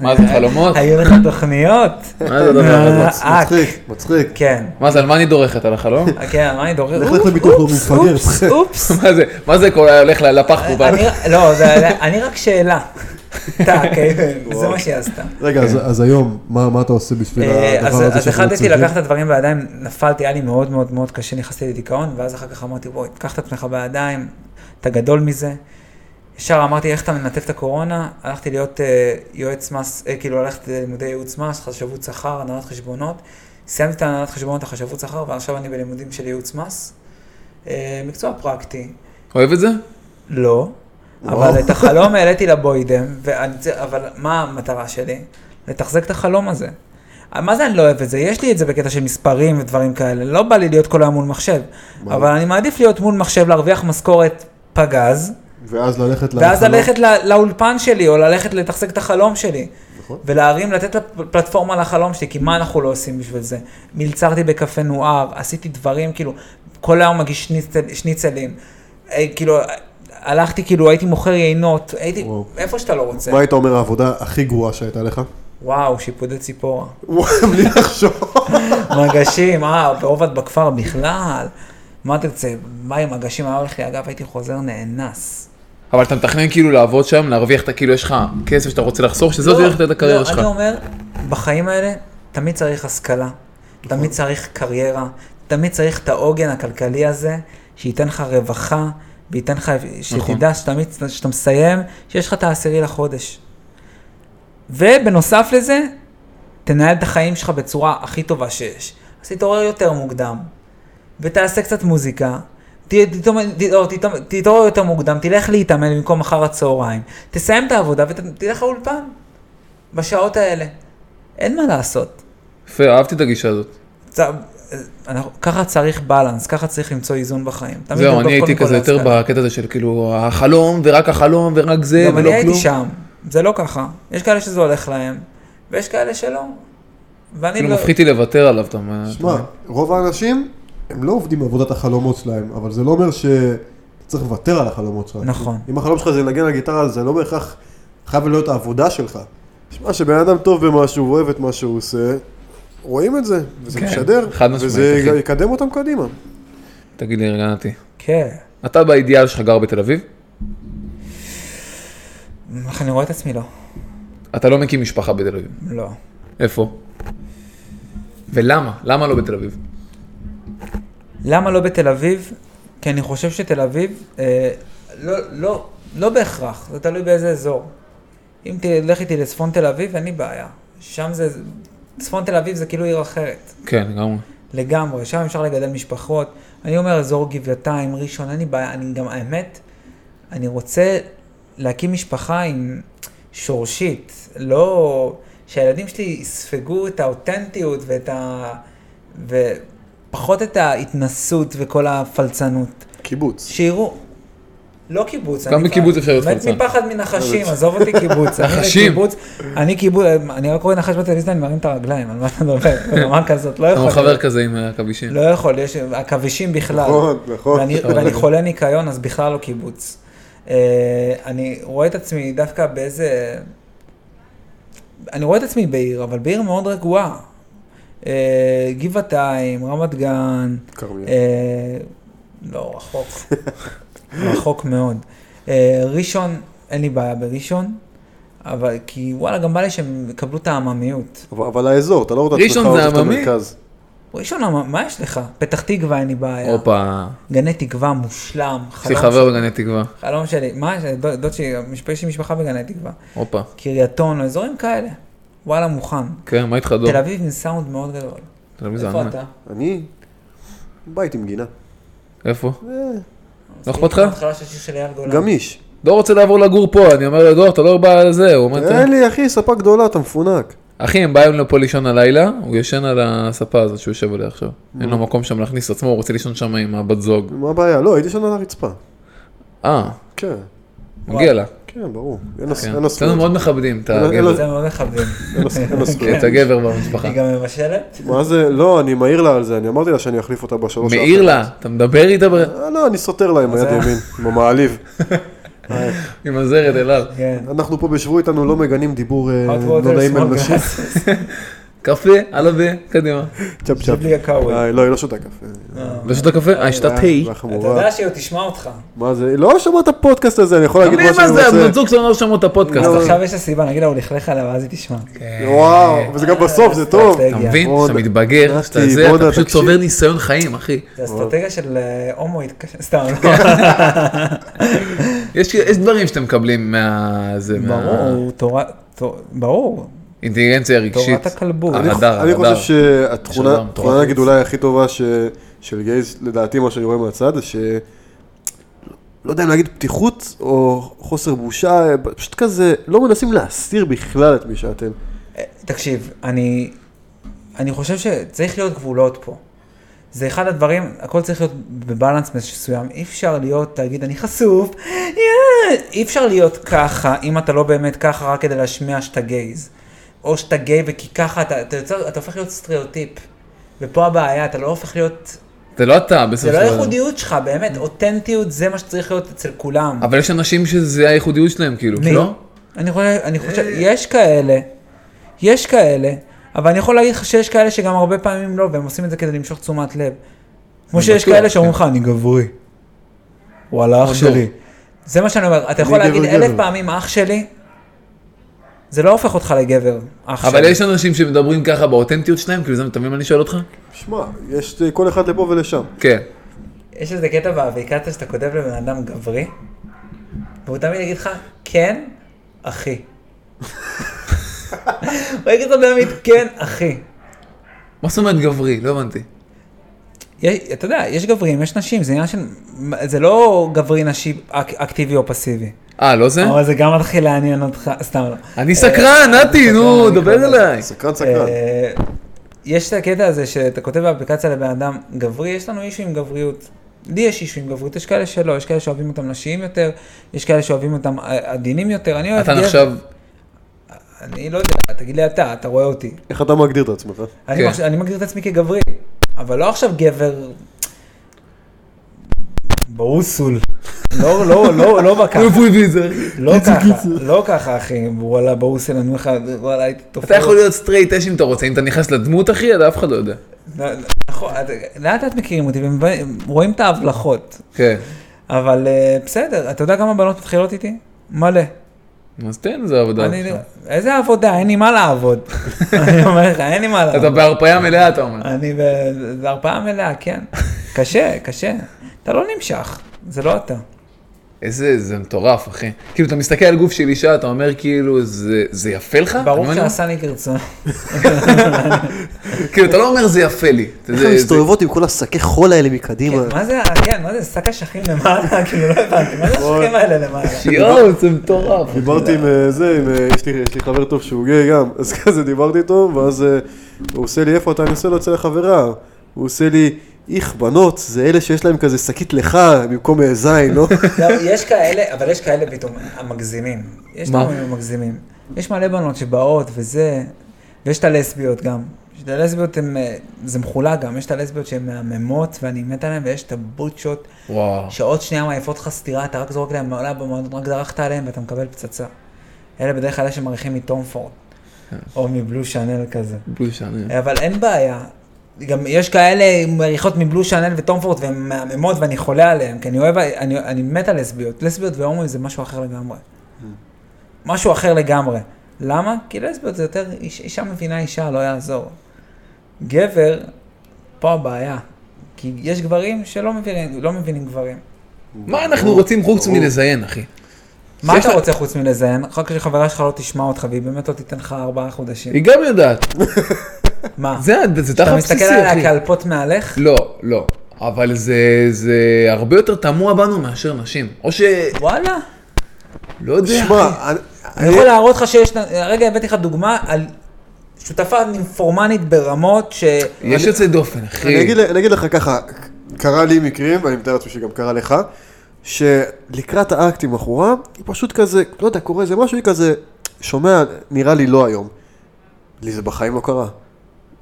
מה זה, חלומות?
היו לך תוכניות.
מה
לא,
זה הדבר הזה?
אה, אה,
מצחיק, מצחיק.
כן,
מה זה, על מה אני דורכת? על החלום?
אה, כן, מה אני דורר?
לך
אופס,
לביטוח לאומי,
אופס,
מפגר.
אופס, אופס.
מה זה, מה זה כל ה... הולך לפח פה? בא-
אני- לא, זה- אני רק שאלה. טאק, אוקיי? זה מה שהיא עשתה.
רגע,
כן.
אז- אז היום, מה מה אתה עושה בשביל
אה, אז-
הדבר הזה
אז
שאנחנו
החלטתי
צריכים?
לקחת את הדברים בידיים, נפלתי, היה לי מאוד מאוד מאוד קשה, נכנסתי לדיכאון, ואז אחר כך אמרתי, בואי, קח את עצמך בידיים, אתה גדול מזה. ישר אמרתי, איך אתה מנתב את הקורונה? הלכתי להיות אה, יועץ מס, אה, כאילו הלכתי ללימודי ייעוץ מס, חשבות שכר, הנהלת חשבונות. סיימתי את הנהלת חשבונות, החשבות שכר, ועכשיו אני בלימודים של ייעוץ מס. אה, מקצוע פרקטי,
אוהב את זה?
לא, אבל את החלום העליתי לבוידם, ואני, צר- אבל מה המטרה שלי? לתחזק את החלום הזה. מה זה אני לא אוהב את זה? יש לי את זה בקטע של מספרים ודברים כאלה, לא בא לי להיות כל היום מול מחשב, אבל אני מעדיף להיות מול מחשב, להרוויח משכורת פגז,
ואז ללכת
ואז
לחלום.
ללכת לא- לאולפן שלי, או ללכת לתחזק את החלום שלי. ולהרים, לתת לפ- פלטפורמה לחלום שלי, כי מה אנחנו לא עושים בשביל זה? מלצרתי בקפה נוער, עשיתי דברים, כאילו, כל היום מגיש שניצל, שניצלים. אה, כאילו, אה, הלכתי, כאילו, הייתי מוכר יינות, הייתי,
וואו.
איפה שאתה לא רוצה.
מה היית אומר העבודה הכי גרועה שהייתה לך?
וואו, שיפודי ציפורה.
וואי, בלי לחשוב.
מגשים, אה, ברובד בכפר בכלל. מה תרצה, מה עם מגשים היה הולך לי? אגב, הייתי חוזר נאנס.
אבל אתה מתכנן כאילו לעבוד שם, להרוויח את ה- כאילו יש לך כסף שאתה רוצה לחסוך, שזאת
לא,
דרך לתת
לא,
הקריירה שלך.
אני אומר, בחיים האלה תמיד צריך השכלה,
נכון.
תמיד צריך קריירה, תמיד צריך את העוגן הכלכלי הזה, שייתן לך רווחה, וייתן לך,
נכון.
שתדע שתמיד, כשאתה מסיים, שיש לך את העשירי לחודש. ובנוסף לזה, תנהל את החיים שלך בצורה הכי טובה שיש. אז תתעורר יותר מוקדם, ותעשה קצת מוזיקה. ת- תתאמן- ת- או, תתאמן- תתעורר יותר מוקדם, תלך להתאמן במקום אחר הצהריים, תסיים את העבודה ותלך לאולפן בשעות האלה. אין מה לעשות.
יפה, אהבתי את הגישה הזאת.
צ- אה, אנחנו- ככה צריך בלנס, ככה צריך למצוא איזון בחיים. תמיד
זהו,
לבדוק
אני הייתי
קודם כל
כזה יותר
להשכלה.
בקטע הזה של כאילו החלום ורק החלום ורק זה
גם
ולא
אני הייתי
כלום.
שם, זה לא ככה. יש כאלה שזה הולך להם, ויש כאלה שלא. ואני
כאילו
לא...
מפחיד לי לוותר עליו, אתה מבין?
שמע, רוב האנשים, הם לא עובדים בעבודת החלומות שלהם, אבל זה לא אומר שאתה צריך לוותר על החלומות שלך.
נכון.
אם החלום שלך זה לנגן על גיטרה, זה לא בהכרח חייב להיות העבודה שלך. שמע, שבן אדם טוב במשהו, הוא אוהב את מה שהוא עושה, רואים את זה, וזה
כן,
משדר,
חד משמעית,
וזה
אחי.
יקדם אותם קדימה.
תגיד לי רגע נתי,
כן.
אתה באידיאל שלך גר בתל אביב?
איך אני רואה את עצמי? לא.
אתה לא מקים משפחה בתל אביב.
לא.
איפה? ולמה? למה לא בתל אביב?
למה לא בתל אביב? כי אני חושב שתל אביב, אה, לא, לא, לא בהכרח, זה תלוי באיזה אזור. אם תלך איתי לצפון תל אביב, אין לי בעיה. שם זה, צפון תל אביב זה כאילו עיר אחרת.
כן, לגמרי.
לא לגמרי, שם אפשר לגדל משפחות. אני אומר, אזור גבעתיים, ראשון, אין לי בעיה, אני גם, האמת, אני רוצה להקים משפחה עם שורשית, לא... שהילדים שלי יספגו את האותנטיות ואת ה... ופחות את ההתנסות וכל הפלצנות.
קיבוץ.
שיראו. לא קיבוץ.
גם
אני
בקיבוץ
כבר-
אפשר להיות חלצן.
מת מפחד מנחשים, עזוב אותי קיבוץ. אני
נחשים.
לקיבוץ- אני קיבוץ, אני רק רואה נחש בטלוויזיה, אני מרים את הרגליים, על מה אתה מדבר? ברמה כזאת, לא
אתה
יכול.
חבר כזה עם אה, הכבישים.
לא יכול, יש עכבישים בכלל.
נכון, נכון.
ואני, ואני חולה ניקיון, אז בכלל לא קיבוץ. אה, אני רואה את עצמי דווקא באיזה... אני רואה את עצמי בעיר, אבל בעיר מאוד רגועה. אה, גבעתיים, רמת גן,
כרמיאל.
אה, לא, רחוק. רחוק מאוד. אה, ראשון, אין לי בעיה בראשון, אבל כי וואלה, גם בא לי שהם יקבלו את העממיות.
אבל- אבל האזור, אתה לא רואה את עצמך
ראשון זה
עוזב את
עממי?
המרכז.
ראשון, מה- מה יש לך? פתח תקווה אין לי בעיה.
הופה,
גני תקווה מושלם.
יש לי
חלום
חבר בגני תקווה.
חלום שלי, מה, ש- דוד דוד שלי, המשפ- יש לי משפחה בגני תקווה,
הופה.
קריית אונו, אזורים כאלה, וואלה מוכן.
כן, מה איתך דור?
תל אביב עם סאונד מאוד גדול.
תל אביב זה לא
איפה
ענק.
אתה?
אני? בית עם גינה.
איפה? לא
אה, מסכים
אכפת לך?
עם ההתחלה של שיר של אייל גולן.
גמיש.
דור רוצה לעבור לגור פה, אני אומר לדור, אתה לא בא על זה, הוא
כן.
אומר, "אתה-
אין לי, אחי, ספה גדולה, אתה מפונק.
אחי, הם באים לו פה לישון הלילה, הוא ישן על הספה הזאת שהוא יושב עליה עכשיו.
Mm.
אין לו מקום שם להכניס את עצמו, הוא רוצה לישון שם עם הבת זוג.
מה הבעיה? לא, הייתי שם על הרצפה.
אה,
כן,
מגיע לה.
כן, ברור. אין לה-
כן.
אין לה
אצלנו
זכויות.
מאוד מכבדים את
אין לו- אין
הגבר,
לו-
זה מאוד מכבדים.
אין לה- אין לה זכויות.
את הגבר במשפחה.
היא גם מבשלת?
מה זה? לא, אני מעיר לה על זה, אני אמרתי לה שאני אחליף אותה בשלוש
מעיר לה, אתה מדבר איתה ב-
לה? לא, אני סותר לה עם היד
זה-
ימין, עם המעליב.
עם הזרת אליו.
כן.
אנחנו פה בשבו איתנו לא מגנים דיבור אה,
Hot
לא
water,
נעים
small
על נשים.
grass.
קפה, עלווה, קדימה.
צ'אפ צ'אפ.
בלי הקאווי.
אה, לא, היא לא שותה קפה.
ושתה קפה? אה, שתה תה.
אה,
אתה
והחמורה.
יודע שהיא עוד תשמע אותך.
מה זה? לא שמע את הפודקאסט הזה, אני יכול להגיד
תמיד
מה
מה
שאני
זה, הבנות
רוצה.
זוג שלנו לא כן. שמעו את הפודקאסט.
אז
אחי.
עכשיו יש לה סיבה, נגיד לה, הוא לכלך עליה ואז היא תשמע.
וואו, וזה גם בסוף, זה טוב.
אתה
הגיע.
מבין?
רודה.
כשאתה מתבגר, כשאתה
נתי,
זה,
רודה,
אתה פשוט
תקשיב.
צובר ניסיון חיים, אחי.
זה אסטרטגיה של אה, הומואית, קשה- סתם, לא.
כן. יש יש דברים שאתם מקבלים מה... זה, מה...
ברור, תורה- תור- ברור,
אינטליגנציה רגשית.
תורת הכלבות.
אה,
אני
הדר,
חו- אני
הדר.
חושב שהתכונה,
יש הדר מטורף.
התכונה נגיד אולי הכי טובה ש- של גייז, לדעתי מה שאני רואה מהצד, זה ש... לא יודע אם להגיד פתיחות או חוסר בושה, פשוט כזה, לא מנסים להסתיר בכלל את מי שאתם.
תקשיב, אני, אני חושב שצריך להיות גבולות פה. זה אחד הדברים, הכל צריך להיות בבלנס מסוים. אי אפשר להיות, תגיד, אני חשוף, יא, אי אפשר להיות ככה, אם אתה לא באמת ככה, רק כדי להשמיע שאתה גייז. או שאתה גיי, וכי ככה אתה, אתה, יוצר, אתה הופך להיות סטריאוטיפ. ופה הבעיה, אתה לא הופך להיות,
זה לא אתה בסופו
זה
של
לא
דבר.
הייחודיות שלך, באמת, אותנטיות זה מה שצריך להיות אצל כולם.
אבל יש אנשים שזה הייחודיות שלהם, כאילו,
מי?
לא?
אני חושב, אני חושב, יש כאלה, יש כאלה, אבל אני יכול להגיד לך שיש כאלה שגם הרבה פעמים לא, והם עושים את זה כדי למשוך תשומת לב. כמו שיש
בטוח, כן. לא.
כאלה שאומרים לך, אני גברי. וואלה, אח שלי. זה מה שאני אומר, אתה יכול
אני
להגיד
גבר,
אלף
גבר.
פעמים אח שלי, זה לא הופך אותך לגבר, אח שלי.
אבל יש אנשים שמדברים ככה באותנטיות שלהם, כאילו, זה אתה מבין מה אני שואל אותך?
שמע, יש כל אחד לפה ולשם.
כן.
יש איזה קטע באפליקציה שאתה כותב לבן אדם גברי, והוא תמיד יגיד לך, כן, אחי. הוא יגיד לך באמת, כן, אחי.
מה זאת אומרת גברי? לא הבנתי.
יש, אתה יודע, יש גברים, יש נשים, זה עניין של... זה לא גברי נשי אק, אקטיבי או פסיבי.
אה, לא זה?
אבל זה גם מתחיל לעניין אותך, סתם לא.
אני סקרן, נתי,
אני
נו,
סקרן,
דבר
אני
אליי.
סקרן סקרן.
אה, יש את הקטע הזה שאתה כותב באפליקציה לבן אדם גברי, יש לנו אישו עם גבריות. לי יש אישו עם גבריות, יש כאלה שלא, יש כאלה שאוהבים אותם נשיים יותר, יש כאלה שאוהבים אותם אה, עדינים יותר, אני אוהב...
אתה
גבר-
נחשב,
אני לא יודע, תגיד לי אתה, אתה רואה אותי.
איך אתה מגדיר את עצמך?
אני,
כן.
מחש... אני מגדיר את עצמי כגברי, אבל לא עכשיו גבר... ברוסול. לא, לא, לא, לא בככה.
איפה הוא הביא את זה?
לא ככה, לא ככה אחי, וואלה ברוסל, אני אומר לך, וואלה הייתי תופר.
אתה יכול להיות סטרייט אש אם אתה רוצה, אם אתה נכנס לדמות, אחי, אז אף אחד לא יודע.
נכון, את- לאט לאט מכירים אותי, והם ב- רואים את ההבלחות.
כן.
אבל אה, בסדר, אתה יודע כמה בנות מתחילות איתי? מלא.
אז כן, תן איזה עבודה.
אני- לא- איזה עבודה, אין לי מה לעבוד. אני אומר לך, אין לי מה לעבוד.
אתה בהרפאיה מלאה, אתה אומר.
אני ב- בהרפאה מלאה, כן. קשה, קשה. אתה אתה לא נמשך, זה לא אתה.
איזה, זה מטורף, אחי. כאילו, אתה מסתכל על גוף של אישה, אתה אומר, כאילו, זה, זה יפה לך? אתה
ברור
מבין?
שעשה לי כרצון.
כאילו, אתה לא אומר, זה יפה לי. אתה-
איך
זה-
הן
זה-
מסתובבות עם כל השקי חול האלה מקדימה?
מה זה, כן, מה זה, שק אשכים למעלה, כאילו, לא הבנתי, מה זה השכים האלה למעלה?
יואו, זה מטורף.
דיברתי עם אה, זה, עם, אה, יש לי- יש לי חבר טוב שהוא גיי גם, אז כזה דיברתי איתו, ואז אה, הוא עושה לי איפה אתה, אני עושה לו אצל החברה. הוא עושה לי, איך בנות, זה אלה שיש להם כזה שקית לך במקום אה, זין, לא?
לא, יש כאלה, אבל יש כאלה פתאום, המגזימים. יש
מה?
כל מיני מגזימים. יש מלא בנות שבאות וזה, ויש את הלסביות גם. יש את הלסביות, הן, אה, זה מחולק גם, יש את הלסביות שהן מהממות ואני מת עליהן, ויש את הבוטשות,
וואו.
שעוד שנייה מעיפות לך סטירה, אתה רק זורק להם מעלה במועדות, רק דרכת עליהם ואתה מקבל פצצה. אלה בדרך כלל אלה שמריחים מטום פורד, או מבלו שאנל כזה.
בושה, אני-
אבל אין בעיה. גם יש כאלה עם מריחות מבלו שאנל וטום פורט והן מהממות ואני חולה עליהן, כי אני אוהב, אני, אני מת על לסביות. לסביות והומואים זה משהו אחר לגמרי. משהו אחר לגמרי. למה? כי לסביות זה יותר, איש, אישה מבינה אישה, לא יעזור. גבר, פה הבעיה. כי יש גברים שלא מבינים, לא מבינים גברים.
מה אנחנו רוצים חוץ מלזיין, אחי?
מה
שיש
אתה
לה-
רוצה חוץ מלזיין? אחר כך שחברה שלך לא תשמע אותך והיא באמת לא תיתן לך ארבעה חודשים.
היא גם יודעת.
מה?
זה זה
אתה
תחת
מסתכל
בסיסי,
עליה
אחי.
כאלפות מעליך?
לא, לא. אבל זה, זה הרבה יותר תמוה בנו מאשר נשים. או ש...
וואלה.
לא יודע. אחי.
שמע, אני-
אני יכול להראות לך שיש, הרגע הבאתי לך דוגמה על שותפה פורמנית ברמות ש...
יש יוצא דופן, אחי.
אני אגיד- אני אגיד לך ככה, קרה לי מקרים, ואני מתאר לעצמי שגם קרה לך, שלקראת האקט עם בחורה, היא פשוט כזה, לא יודע, קורה איזה משהו, היא כזה, שומע, נראה לי לא היום. לי זה בחיים לא קרה.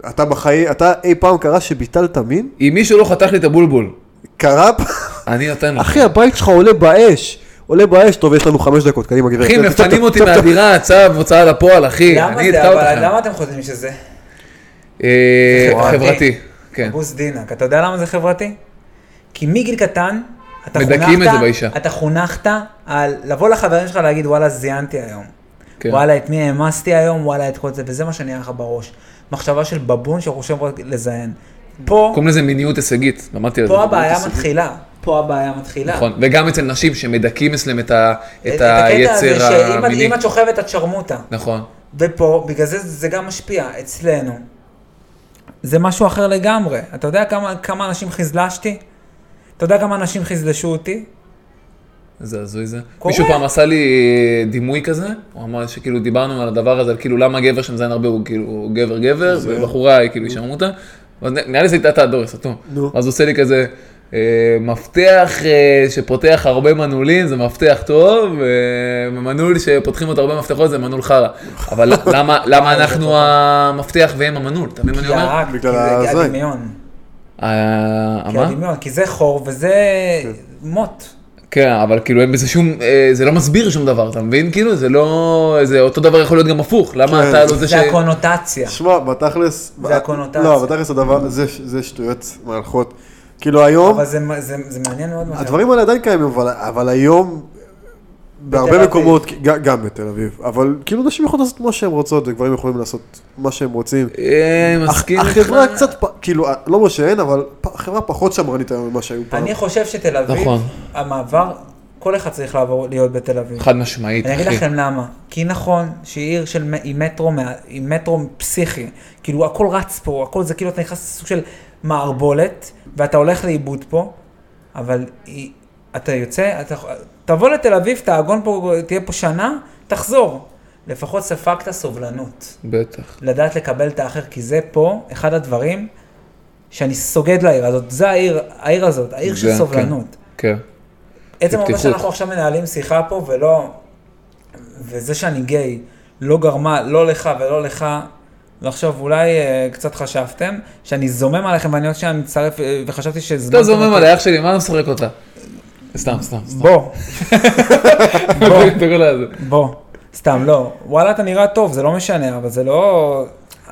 אתה בחיים, אתה אי פעם קרה שביטלת מין?
אם מישהו לא חתך לי את הבולבול,
קרה פעם?
אני נותן לך.
אחי, הבית שלך עולה באש. עולה באש, טוב, יש לנו חמש דקות, קדימה גברת.
אחי, מפנים אותי מהדירה, צו, הוצאה לפועל, אחי.
למה
אני
זה,
אתקע
אבל
אותך.
למה אתם חושבים שזה?
אה,
חברתי.
חברתי, כן.
בוס דינק, אתה יודע למה זה חברתי? כי מגיל קטן, אתה
מדכאים
חונכת,
את זה באישה.
אתה חונכת על לבוא לחברים שלך להגיד וואלה זיינתי היום.
כן.
וואלה את מי העמסתי היום, וואלה את כל זה, וזה מה שנהיה לך בראש. מחשבה של בבון שחושב רק לזיין. פה,
קוראים לזה מיניות הישגית, למדתי על זה.
פה הבעיה מתחילה. פה הבעיה מתחילה.
נכון, וגם אצל נשים שמדכאים אצלם את ה- את
הקטע הזה
היצר
שאם-
המיני.
אם את שוכבת את שרמוטה.
נכון.
ופה, בגלל זה זה גם משפיע, אצלנו. זה משהו אחר לגמרי. אתה יודע כמה, כמה אנשים חזלשתי? אתה יודע כמה אנשים חזלשו אותי?
איזה הזוי זה.
קורה.
מישהו פעם עשה לי דימוי כזה, הוא אמר שכאילו דיברנו על הדבר הזה, על כאילו למה גבר שמזיין הרבה הוא כאילו גבר גבר, ובחורה היא כאילו אישה מוטה. ואז נ- נראה לי שזו הייתה דורס, אטום.
נו.
אז הוא עושה לי כזה, אה, מפתח אה, שפותח הרבה מנעולים זה מפתח טוב, אה, ומנעול שפותחים אותו הרבה מפתחות זה מנעול חרא. אבל למה- למה אנחנו המפתח והם המנעול, אתה מבין מה אני אומר?
רק
בגלל
כי זה
הזין.
הדמיון.
אה,
כי
מה?
הדמיון, כי זה חור וזה מוט.
כן, אבל כאילו אין בזה שום, אה, זה לא מסביר שום דבר, אתה מבין? כאילו, זה לא, זה אותו דבר יכול להיות גם הפוך, למה
כן.
אתה לא זה ש...
זה הקונוטציה.
שמע, בתכלס...
זה הקונוטציה.
לא, בתכלס הדבר, זה- זה שטויות מהלכות. כאילו היום...
אבל זה מ- זה זה מעניין מאוד. מה שאתה
הדברים האלה עדיין קיימים, אבל, אבל היום,
אביב.
בהרבה מקומות, ג- גם בתל אביב, אבל כאילו נשים יכולות לעשות מה שהן רוצות, וגברים יכולים לעשות מה שהם רוצים.
אה, מסכים איתך.
החברה קצת, פ- כאילו, אה, לא אומר שאין, אבל פ- החברה פחות שמרנית היום ממה שהיו פעם.
אני חושב שתל אביב,
נכון.
המעבר, כל אחד צריך לעבור להיות בתל אביב.
חד משמעית,
אני אגיד
אחי.
לכם למה. כי נכון שהיא עיר של, מ- עם מטרו, מה- עם מטרו פסיכי. כאילו הכל רץ פה, הכל זה כאילו אתה נכנס לסוג של מערבולת, ואתה הולך לאיבוד פה, אבל היא, אתה יוצא, אתה, תבוא לתל אביב, תעגון פה, תהיה פה שנה, תחזור. לפחות ספגת סובלנות.
בטח.
לדעת לקבל את האחר, כי זה פה אחד הדברים שאני סוגד לעיר הזאת. זה העיר, העיר הזאת, העיר
זה,
של
כן.
סובלנות.
כן.
עצם העובדה
בפתיחות.
שאנחנו עכשיו מנהלים שיחה פה ולא, וזה שאני גיי לא גרמה לא לך ולא לך לחשוב, אולי אה, קצת חשבתם, שאני זומם עליכם ואני עוד שנייה מצטרף אה, וחשבתי שהזמנתם
אתה לא זומם עלי, אח שלי, מה אתה משחק אותה? סתם, סתם, סתם.
בוא, בוא.
אתה כל הזה.
בוא, סתם לא. וואלה אתה נראה טוב, זה לא משנה, אבל זה לא...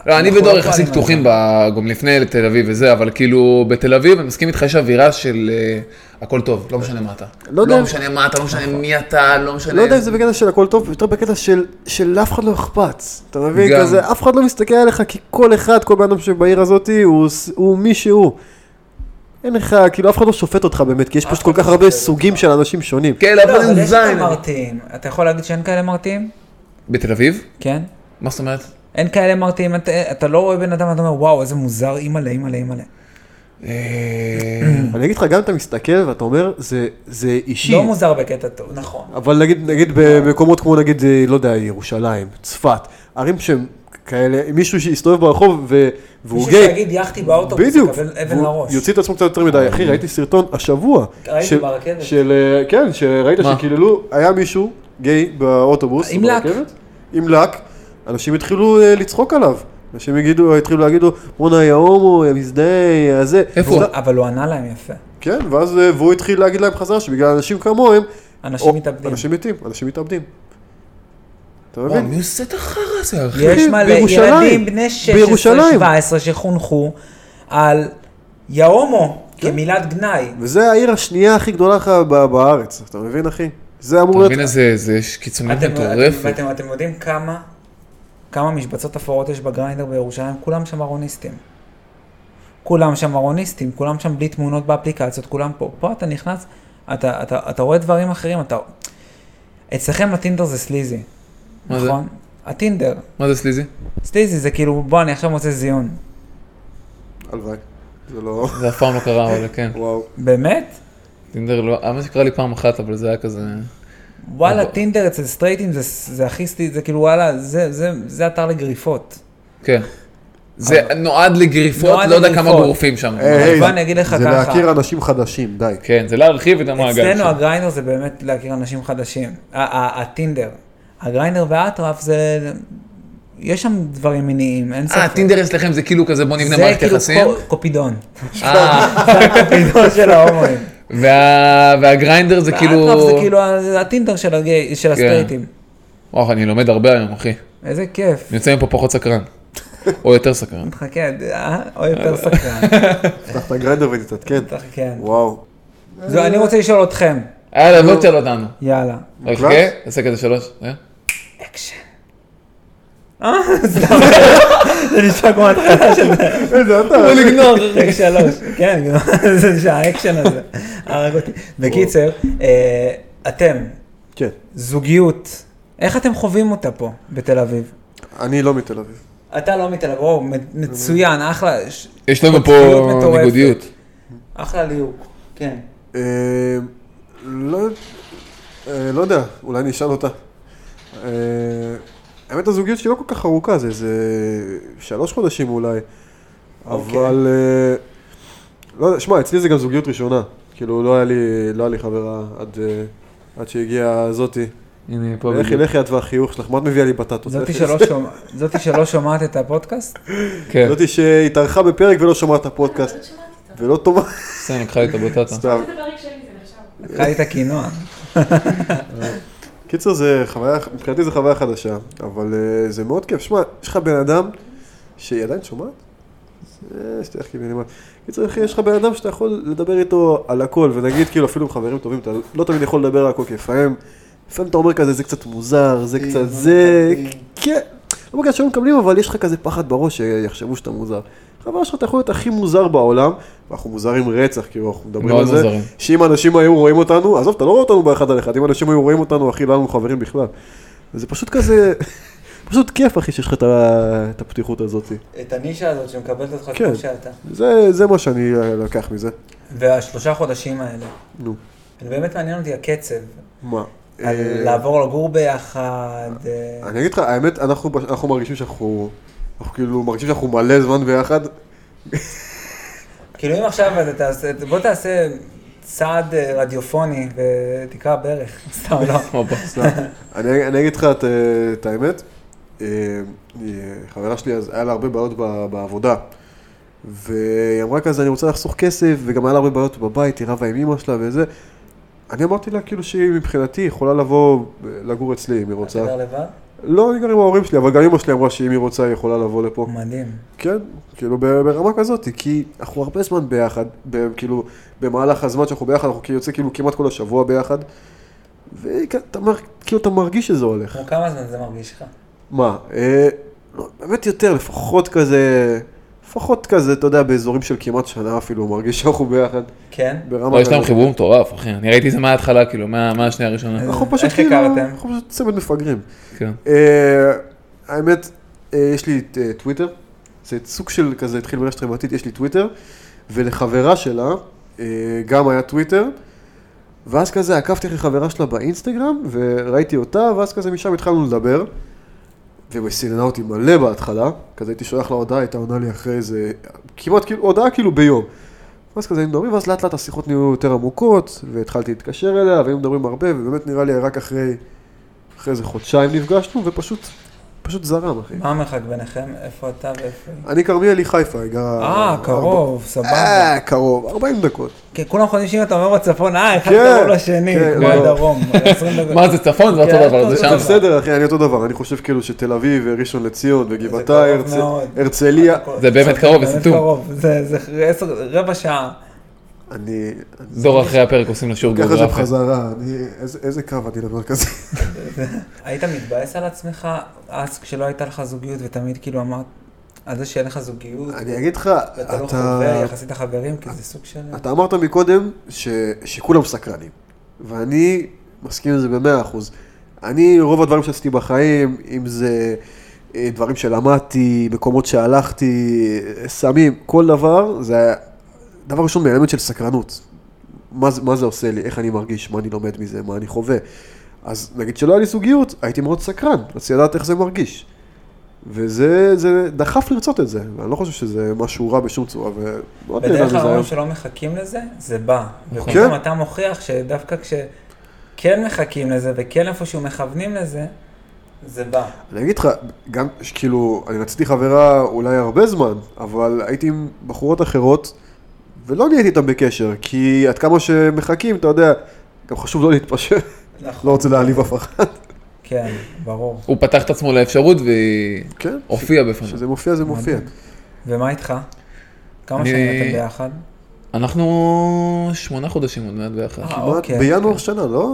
לא, אני
אנחנו
ודור
לא
יחסית
פועלים
פתוחים,
על
ב- גם לפני לתל אביב וזה, אבל כאילו, בתל אביב, אני מסכים איתך, יש אווירה של אה, הכל טוב, לא משנה מה אתה.
לא יודע- נכון.
לא משנה מה אתה, לא משנה מי אתה, לא משנה...
לא יודע אם זה בקטע של הכל טוב, יותר בקטע של שלאף אחד לא אכפת. אתה מבין?
גם.
כזה, אף אחד לא מסתכל עליך, כי כל אחד, כל בן אדם שבעיר הזאת, הוא, ס- הוא מי שהוא. אין לך, כאילו אף אחד לא שופט אותך באמת, כי יש פשוט כל כך הרבה סוגים של אנשים שונים.
כן,
לא,
אבל
אבל יש כאלה
זין.
מרתיעים. אתה יכול להגיד שאין כאלה מרתיעים?
בתל אביב?
כן.
מה זאת אומרת?
אין כאלה מרתיעים, אתה- אתה לא רואה בן אדם, אתה אומר, וואו, איזה מוזר, אימא'לה, אימא'לה, אימא'לה.
אה,
אני אגיד לך, גם אתה מסתכל ואתה אומר, "זה- זה אישי.
לא מוזר בקטע טוב, נכון.
אבל נגיד, נגיד במקומות כמו נגיד, אה, לא יודע, ירושלים, צפת, ערים שהם כאלה, מישהו שיסתובב ברחוב ו... והוא
מישהו
גיי,
שיגיד יאכטי באוטובוס,
בדיוק,
יקבל אבן
והוא
לראש.
יוציא את עצמו קצת יותר מדי,
אה.
אחי, ראיתי סרטון השבוע,
ראיתי
של-
ברכבת.
של, אה, כן, שראית
מה?
שקיללו, היה מישהו גיי באוטובוס,
עם
או
לק.
ברכבת, עם לק, אנשים התחילו אה, לצחוק עליו, אנשים יגידו, התחילו להגיד לו, בואנה יא הומו, יא מזדהה, יא זה,
איפה?
ואז-
אבל הוא ענה להם יפה.
כן, ואז אה, והוא התחיל להגיד להם חזרה שבגלל אנשים כמוהם,
אנשים
או-
מתאבדים.
אנשים מתים, אנשים מתאבדים. אתה
וואו,
מבין?
מי עושה את החרא הזה, אחי?
יש מלא
בירושלים.
ילדים בני
בירושלים.
16-17 שחונכו על יא הומו
כן.
כמילת גנאי.
וזה העיר השנייה הכי גדולה לך ב- בארץ, אתה מבין אחי? זה אמור
אתה
להיות...
מבין איזה איזה קיצוניות
אתם-
מטורפת.
ואתם אתם יודעים כמה כמה משבצות אפורות יש בגריינדר בירושלים? כולם שם ארוניסטים. כולם שם ארוניסטים, כולם שם בלי תמונות באפליקציות, כולם פה. פה אתה נכנס, אתה, אתה, אתה רואה דברים אחרים, אתה... אצלכם הטינדר זה סליזי,
מה זה?
נכון? הטינדר.
מה זה סליזי?
סליזי זה כאילו, בוא, אני עכשיו מוצא זיון.
הלוואי. זה לא...
זה אף פעם לא קרה, אבל כן.
וואו.
באמת?
טינדר לא, האמת שקרה לי פעם אחת, אבל זה היה כזה...
וואלה,
אבל-
טינדר אצל סטרייטים זה, זה הכי סטי, זה כאילו, וואלה, זה, זה, זה אתר לגריפות.
כן. זה נועד לגריפות,
נועד
לא יודע כמה
לגריפות.
גורפים שם.
אה, היי,
אבל אני אגיד לך
זה
ככה.
להכיר אנשים חדשים, די.
כן, זה להרחיב את המעגל
אצלנו
שם.
הגריינדר זה באמת להכיר אנשים חדשים. ה- ה- הטינדר. הגריינדר והאטרף זה... יש שם דברים מיניים, אין ספק.
אה, טינדר אצלכם זה כאילו כזה בוא נבנה מערכת
זה
יחסים?
כאילו קו- קופידון.
אה,
קופידון של ההומואים.
וה- והגריינדר זה כאילו...
האטרף זה כאילו ה- זה הטינדר של הגיי- של הסטרייטים.
וואו, אני לומד הרבה היום, אחי. אני
איזה כיף.
יוצא מפה פחות סקרן. או יותר סקרן.
חכה, אה? אוי, יותר סקרן.
פתח את הגרנדר ותתעדכן.
תחכן.
וואו.
זהו, אני רוצה לשאול אתכם.
יאללה, בוא אה, לא, תשאל אותנו.
יאללה.
רק
מוקלט?
חכה, תעשה כזה שלוש. אה?
אקשן. אה, סתם. זה נשמע כמו התחלה של זה.
איזה אתה?
טק שלוש, כן, גם- זה שהאקשן הזה הרג אותי. בקיצר, אה, אתם,
כן.
זוגיות, איך אתם חווים אותה פה, בתל אביב?
אני לא מתל אביב.
אתה לא מתל אביב, וואו, מצוין, אחלה, ש-
יש לנו פה
חיות מטורפת.
ניגודיות.
אחלה ליהוק, כן.
אה, לא... אה, לא יודע, אולי אני אשאל אותה. אה, האמת הזוגיות שלי לא כל כך ארוכה, זה איזה שלוש חודשים אולי.
אוקיי.
אבל... אה, לא יודע, שמע, אצלי זה גם זוגיות ראשונה. כאילו, לא היה לי, לא היה לי חברה עד, אה, עד שהגיעה זאתי.
הנה, פה
לכי,
בדיוק.
לכי את והחיוך שלך, מה את מביאה לי בטטות?
זאתי
לכי.
שלא שומע- זאתי שלא שומעת את הפודקאסט?
כן,
זאתי שהתארחה בפרק ולא שומעת את הפודקאסט.
אבל לא שמעתי אותו.
ולא טובה.
סתם לקחה לי את הבטטה.
סתם.
זה פרק שלי, זה נחשב.
לקחה לי את הקינוע.
קיצר, זה חוויה, מבחינתי זה חוויה חדשה, אבל אה, זה מאוד כיף. שמע, יש לך בן אדם שהיא עדיין שומעת? זה שתי אחים מינימל. קיצר, אחי, יש לך בן אדם שאתה יכול לדבר איתו על הכל, ונגיד, כאילו, אפילו עם חברים טובים, אתה לא תמיד יכול לדבר על הכל, כי לפעמים, לפעמים אתה אומר כזה, זה קצת מוזר, זה קצת זה, כן. לא בגלל שלא מקבלים, אבל יש לך כזה פחד בראש שיחשבו שאתה מוזר. חבר שלך, אתה יכול להיות הכי מוזר בעולם, ואנחנו מוזרים רצח, כאילו, אנחנו מדברים
מאוד
על זה.
מוזרים.
שאם אנשים היו רואים אותנו, עזוב, אתה לא רואה אותנו באחד על אחד, אם אנשים היו רואים אותנו, אחי, לא היינו חברים בכלל. וזה פשוט כזה, פשוט כיף, אחי, שיש לך את ה- את הפתיחות הזאת.
את הנישה הזאת שמקבלת אותך
כן.
כמו שאתה.
זה, זה מה שאני אה, לקח מזה.
והשלושה חודשים האלה.
נו,
באמת מעניין אותי הקצב,
מה?
על
אה,
לעבור לגור ביחד. אה,
אני אגיד לך, האמת, אנחנו פש- אנחנו מרגישים שאנחנו, אנחנו כאילו מרגישים שאנחנו מלא זמן ביחד.
כאילו אם עכשיו אתה תעשה, בוא תעשה צעד אה, רדיופוני ותקרא ברך, סתם לא.
הופה.
אני אני אגיד לך את, אה, את האמת, אה, אה, חברה שלי, אז היה לה הרבה בעיות ב- בעבודה. והיא אמרה כזה, אני רוצה לחסוך כסף, וגם היה לה הרבה בעיות בבית, היא רבה עם אמא שלה וזה. אני אמרתי לה כאילו שהיא מבחינתי יכולה לבוא אה, לגור אצלי אם היא
אתה
רוצה.
גר לבד?
לא, אני גר עם ההורים שלי, אבל גם אמא שלי אמרה שאם היא רוצה היא יכולה לבוא לפה.
מדהים.
כן, כאילו ב- ברמה כזאת, כי אנחנו הרבה זמן ביחד, ב- כאילו במהלך הזמן שאנחנו ביחד, אנחנו כאילו יוצא כאילו כמעט כל השבוע ביחד. ואתה מר- כאילו אתה מרגיש שזה הולך.
כמו כמה זמן זה מרגיש לך?
מה? אה, לא, באמת יותר, לפחות כזה, לפחות כזה, אתה יודע, באזורים של כמעט שנה אפילו, מרגיש שאנחנו ביחד.
כן?
ברמה
אבל לא, יש להם
כזאת.
חיבור מטורף, אחי. אני ראיתי את זה מההתחלה, כאילו, מה- מהשנייה הראשונה.
אנחנו פשוט
איך
כאילו,
הכרתם?
אנחנו פשוט צמד מפגרים.
כן.
אה, האמת, אה, יש לי את אה, טוויטר, זה סוג של כזה, התחיל ברשת חברתית, יש לי טוויטר, ולחברה שלה אה, גם היה טוויטר, ואז כזה עקבתי אחרי חברה שלה באינסטגרם, וראיתי אותה, ואז כזה משם התחלנו לדבר, והיא סיננה אותי מלא בהתחלה, כזה הייתי שולח לה הודעה, הייתה עונה לי אחרי איזה, כמעט כאילו, הודעה כאילו ביום. ואז כזה היינו מדברים, ואז לאט לאט השיחות נהיו יותר עמוקות, והתחלתי להתקשר אליה, והיינו מדברים הרבה, ובאמת נראה לי רק אחרי אחרי איזה חודשיים נפגשנו, ופשוט, פשוט זרם, אחי.
מה המרחק ביניכם? איפה אתה ואיפה היא?
אני כרמיאל, היא חיפה, היא גרה...
אה, קרוב, סבבה.
אה, קרוב, 40 דקות.
כן, כולם חושבים שאם אתה אומר בצפון, אה, אחד
כן,
קרוב לשני,
כן,
כמו
לא.
הדרום. 20 דקות.
מה זה צפון? זה
כן,
אותו דבר, זה
אותו
שם.
זה
דבר.
בסדר, אחי, אני אותו דבר, אני חושב כאילו שתל אביב, וראשון לציון, וגבעתיים,
קרוב
הרצ-
מאוד.
הרצליה,
זה באמת קרוב, זה
באמת
סתום.
קרוב, זה זה עשר- רבע שעה.
אני...
דור אחרי הפרק עושים לו שיעור
ככה זה
גיאוגרפיה.
בחזרה, אני, איזה, איזה קו אני למרכזי?
היית מתבאס על עצמך אז כשלא הייתה לך זוגיות ותמיד כאילו אמרת, על זה שאין לך זוגיות,
אני אגיד לך,
ואתה
אתה...
לא חווה יחסית לחברים, כי זה סוג של...
אתה אמרת מקודם ש... שכולם סקרנים, ואני מסכים עם זה במאה אחוז. אני, רוב הדברים שעשיתי בחיים, אם זה אה, דברים שלמדתי, מקומות שהלכתי, אה, סמים, כל דבר, זה היה- דבר ראשון מאלמנט של סקרנות. מה, זה- מה זה עושה לי, איך אני מרגיש, מה אני לומד מזה, מה אני חווה. אז נגיד שלא היה לי זוגיות, הייתי מאוד סקרן, רציתי לדעת איך זה מרגיש. וזה זה דחף לרצות את זה, ואני לא חושב שזה משהו רע בשום צורה, ומאוד נהנה
בדרך
מזה
כלל
היום.
אומרים שלא מחכים לזה, זה בא.
נכון.
ופתאום
כן.
אתה מוכיח שדווקא כשכן מחכים לזה וכן איפשהו מכוונים לזה, זה בא.
אני אגיד לך, גם ש- כאילו, אני רציתי חברה אולי הרבה זמן, אבל הייתי עם בחורות אחרות, ולא נהייתי איתן בקשר, כי עד כמה שמחכים, אתה יודע, גם חשוב לא להתפשר,
נכון.
לא רוצה להעליב אף אחד.
כן, ברור.
הוא פתח את עצמו לאפשרות והיא
כן,
הופיעה בפניו.
כשזה מופיע זה מופיע.
מדהים. ומה איתך? כמה
אני-
שנים אתם ביחד?
אנחנו שמונה חודשים עוד מעט ביחד.
אה,
כמעט
אוקיי.
בינואר שנה, לא?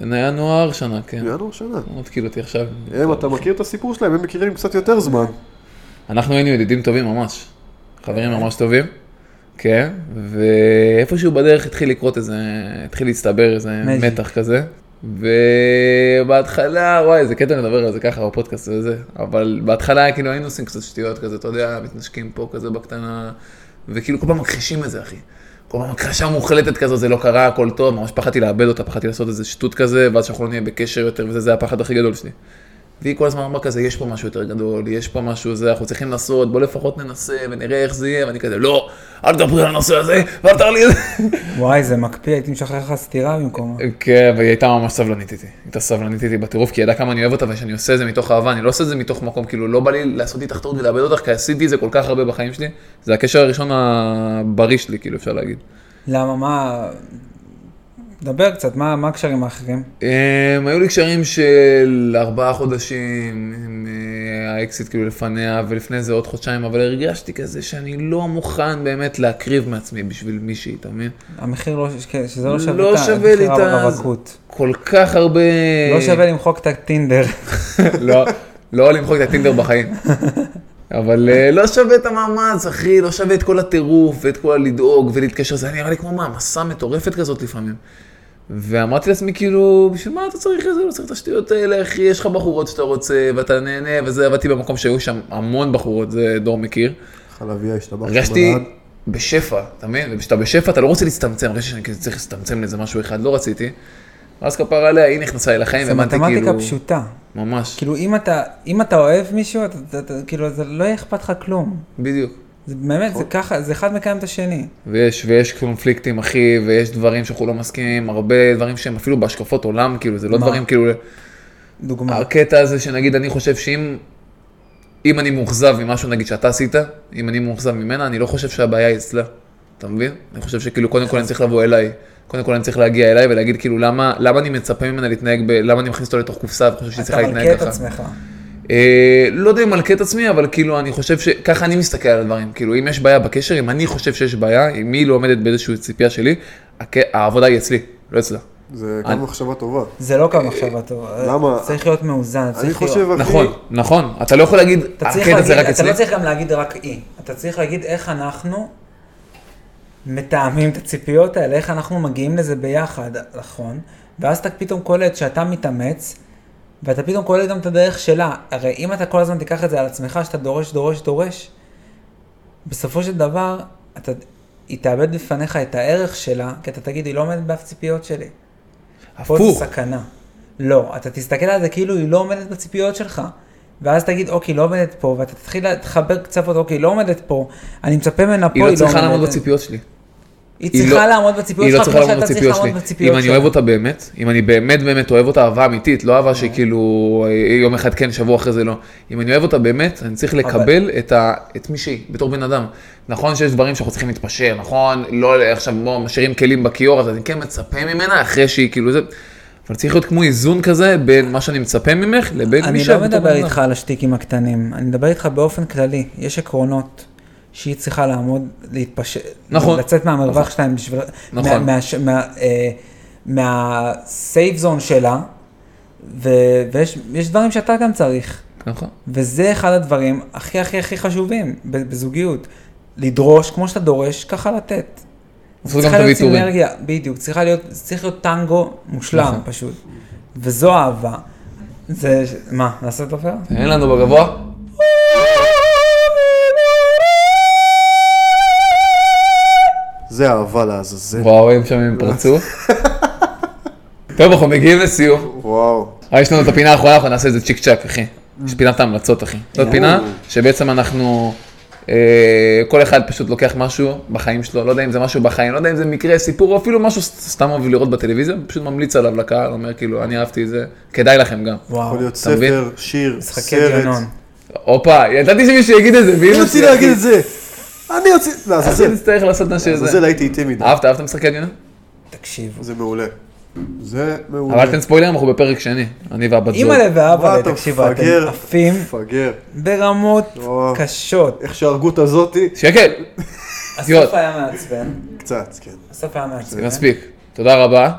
ינואר שנה, כן. כאילו,
בינואר שנה.
הוא מתקיל אותי עכשיו.
הם, אתה מכיר את הסיפור שלהם, הם מכירים קצת יותר זמן.
אנחנו היינו ידידים טובים ממש. חברים ממש טובים. כן, ואיפשהו בדרך התחיל לקרות איזה, התחיל להצטבר איזה
מג'יק.
מתח כזה. ובהתחלה, וואי, זה קטע לדבר על זה ככה בפודקאסט וזה, אבל בהתחלה היה כאילו היינו עושים קצת שטויות כזה, אתה יודע, מתנשקים פה כזה בקטנה, וכאילו כל פעם מכחישים את זה, אחי. כל פעם הכחשה מוחלטת כזו, זה לא קרה, הכל טוב, ממש פחדתי לאבד אותה, פחדתי לעשות איזה שטות כזה, ואז שאנחנו לא נהיה בקשר יותר, וזה, זה הפחד הכי גדול שלי. והיא כל הזמן אמרה כזה, יש פה משהו יותר גדול, יש פה משהו זה, אנחנו צריכים לנסות, בוא לפחות ננסה ונראה איך זה יהיה, ואני כזה, לא, אל תדברי על הנושא הזה, ואל תעלי את זה.
וואי, זה מקפיא, הייתי משחרר לך סטירה במקומה.
כן, והיא הייתה ממש סבלנית איתי. היא הייתה סבלנית איתי בטירוף, כי היא ידעה כמה אני אוהב אותה, ושאני עושה את זה מתוך אהבה, אני לא עושה את זה מתוך מקום, כאילו, לא בא לי לעשות איתך טעות ולאבד אותך, כי עשיתי את זה כל כך הרבה בחיים שלי. זה הקשר הראשון הבריא שלי, כאילו, אפשר להגיד.
למה, מה... דבר קצת, מה מה הקשרים האחרים?
הם, אמ, היו לי קשרים של ארבעה חודשים, עם אה, האקסיט כאילו לפניה, ולפני זה עוד חודשיים, אבל הרגשתי כזה שאני לא מוכן באמת להקריב מעצמי בשביל מישהי, אתה מבין?
המחיר לא... ש- כן, שזה לא שווה
לא
את ה-
שווה לי
המחיר
את ה-
הרווקות.
כל כך הרבה...
לא שווה למחוק את הטינדר.
לא, לא למחוק את הטינדר בחיים. אבל אה, לא שווה את המאמץ, אחי, לא שווה את כל הטירוף ואת כל הלדאוג ולהתקשר, זה היה נראה לי כמו מעמסה מטורפת כזאת לפעמים. ואמרתי לעצמי, כאילו, בשביל מה אתה צריך את זה? לא צריך את השטויות האלה, אחי, יש לך בחורות שאתה רוצה, ואתה נהנה, וזה, עבדתי במקום שהיו שם המון בחורות, זה דור מכיר.
חלביה השתבח
הרגשתי בשפע, אתה מבין? וכשאתה בשפע אתה לא רוצה להצטמצם, הרגשתי שאני כאילו צריך להצטמצם לאיזה משהו אחד, לא רציתי. ואז כפרה עליה, היא נכנסה אל החיים,
זה
והבנתי כאילו...
מתמטיקה פשוטה.
ממש,
כאילו, אם אתה, אם אתה אוהב מישהו, אתה, אתה, אתה, כאילו, זה לא יהיה אכפת לך כלום.
בדיוק.
זה באמת,
נכון.
זה ככה, זה אחד מקיים את השני.
ויש, ויש קונפליקטים, אחי, ויש דברים שאנחנו לא מסכימים, הרבה דברים שהם אפילו בהשקפות עולם, כאילו, זה לא
מה?
דברים כאילו...
אה,
דוגמה.
אוקיי,
הקטע הזה שנגיד, אני חושב שאם... אם אני מאוכזב ממשהו, נגיד, שאתה עשית, אם אני מאוכזב ממנה, אני לא חושב שהבעיה היא אצלה. אתה מבין? אני חושב שכאילו, קודם כל אני צריך לבוא אליי. קודם כל אני צריך להגיע אליי ולהגיד, כאילו, למה, למה אני מצפה ממנה להתנהג ב... למה אני מכניס אותו לתוך קופסה וחושב שהיא
אתה
צריכה
מלכה
להתנהג
את
ככה?
עצמך.
אה, לא יודע אם מלכה את עצמי, אבל כאילו, אני חושב ש... ככה אני מסתכל על הדברים. כאילו, אם יש בעיה בקשר, אם אני חושב שיש בעיה, אם היא לא עומדת באיזושהי ציפייה שלי, הק... העבודה היא אצלי, לא אצלה.
אוקיי.
זה
אני-
גם מחשבה טובה.
זה לא קו מחשבה טובה.
למה?
צריך להיות מאוזן,
אני
צריך להיות...
חושב, אחי,
נכון, נכון. אתה לא יכול להגיד,
אתה צריך
הקטע זה
להגיד,
רק
אתה
אצלי.
לא צריך גם להגיד רק אי. אתה אתה צריך להגיד איך אנחנו מתאמים את הציפיות האלה, איך אנחנו מגיעים לזה ביחד, נכון? ואז אתה פתאום קולט שאתה מתאמץ, ואתה פתאום קולט גם את הדרך שלה. הרי אם אתה כל הזמן תיקח את זה על עצמך, שאתה דורש, דורש, דורש, בסופו של דבר, אתה, היא תאבד בפניך את הערך שלה, כי אתה תגיד, היא לא עומדת באף ציפיות שלי. פה
הפוך.
זה סכנה. לא, אתה תסתכל על זה כאילו היא לא עומדת בציפיות שלך. ואז תגיד, אוקיי, היא לא עומדת פה, ואתה תתחיל לחבר קצוות, אוקיי, היא לא עומדת פה, אני מצפה ממנה פה,
היא
היא
לא צריכה
עומדת.
לעמוד בציפיות שלי.
היא
היא
צריכה
לא-
לעמוד בציפיות
היא לא
שלך,
צריכה
כמו
לעמוד
שאתה צריך
בציפיות שלי.
לעמוד בציפיות
אם
שלך.
אני אוהב אותה באמת, אם אני באמת באמת אוהב אותה אהבה אמיתית, לא אהבה שכאילו אה, יום אחד כן, שבוע אחרי זה לא. אם אני אוהב אותה באמת, אני צריך לקבל את ה- את מי שהיא, בתור בן אדם. נכון שיש דברים שאנחנו צריכים להתפשר, נכון? לא עכשיו בוא, משאירים כלים בכיור, אז אני כן מצפה ממנה אחרי שהיא כאילו זה... אבל צריך להיות כמו איזון כזה בין מה שאני מצפה ממך לבין מי
אני
שאת
לא
בתור
מדבר
בן אדם.
איתך על השטיקים הקטנים, אני מדבר איתך באופן כללי, יש עקרונות שהיא צריכה לעמוד, להתפשט,
נכון.
לצאת מהמרווח שלהם, בשביל,
נכון.
מה, מה, מה, אה, מהסייף זון שלה, ו, ויש יש דברים שאתה גם צריך,
נכון.
וזה אחד הדברים הכי הכי הכי חשובים ב- בזוגיות, לדרוש כמו שאתה דורש, ככה לתת.
לעשות גם
צריכה
את
להיות
הוויתורים.
סינרגיה, בדיוק, צריכה להיות, זה צריך להיות טנגו מושלם
נכון.
פשוט, וזו אהבה. זה, מה, לעשות עופר?
אין לנו בגבוה?
זה אהבה לעזאזל.
וואו, הם שם עם פרצוף. טוב, אנחנו מגיעים לסיום.
וואו.
אה, יש לנו את הפינה האחרונה, אנחנו נעשה את זה צ'יק צ'אק, אחי.
Mm.
יש פינת ההמלצות, אחי. זאת פינה שבעצם אנחנו, אה, כל אחד פשוט לוקח משהו בחיים שלו, לא יודע אם זה משהו בחיים, לא יודע אם זה מקרה, סיפור, או אפילו משהו ס- סתם אוהב לראות בטלוויזיה, פשוט ממליץ עליו לקהל, אומר כאילו, אני אהבתי את זה, כדאי לכם גם.
וואו,
יכול להיות
אתה מבין?
ספר, שיר,
משחקי
סרט.
גנון.
הופה, ידעתי שמישהו יגיד את כן, זה, אה, ואם
אני רציתי להגיד את זה. אני לא, רציתי...
אז
לעזאזל.
נצטרך לעשות מה שזה.
לעזאזל הייתי איתי מדי.
אהבת, אהבת משחקי דיון?
תקשיבו.
זה מעולה.
זה מעולה.
אבל תן ספוילרים, אנחנו בפרק שני, אני והבת זוג.
אימא'לה ואבאלה,
וואי, אתה
תקשיבו, אתם
מפגר.
עפים
מפגר.
ברמות
וואו.
קשות.
איך שהרגו את הזאתי?
שקל,
הסוף היה מעצבן,
קצת, כן.
הסוף היה מעצבן.
מספיק. תודה רבה.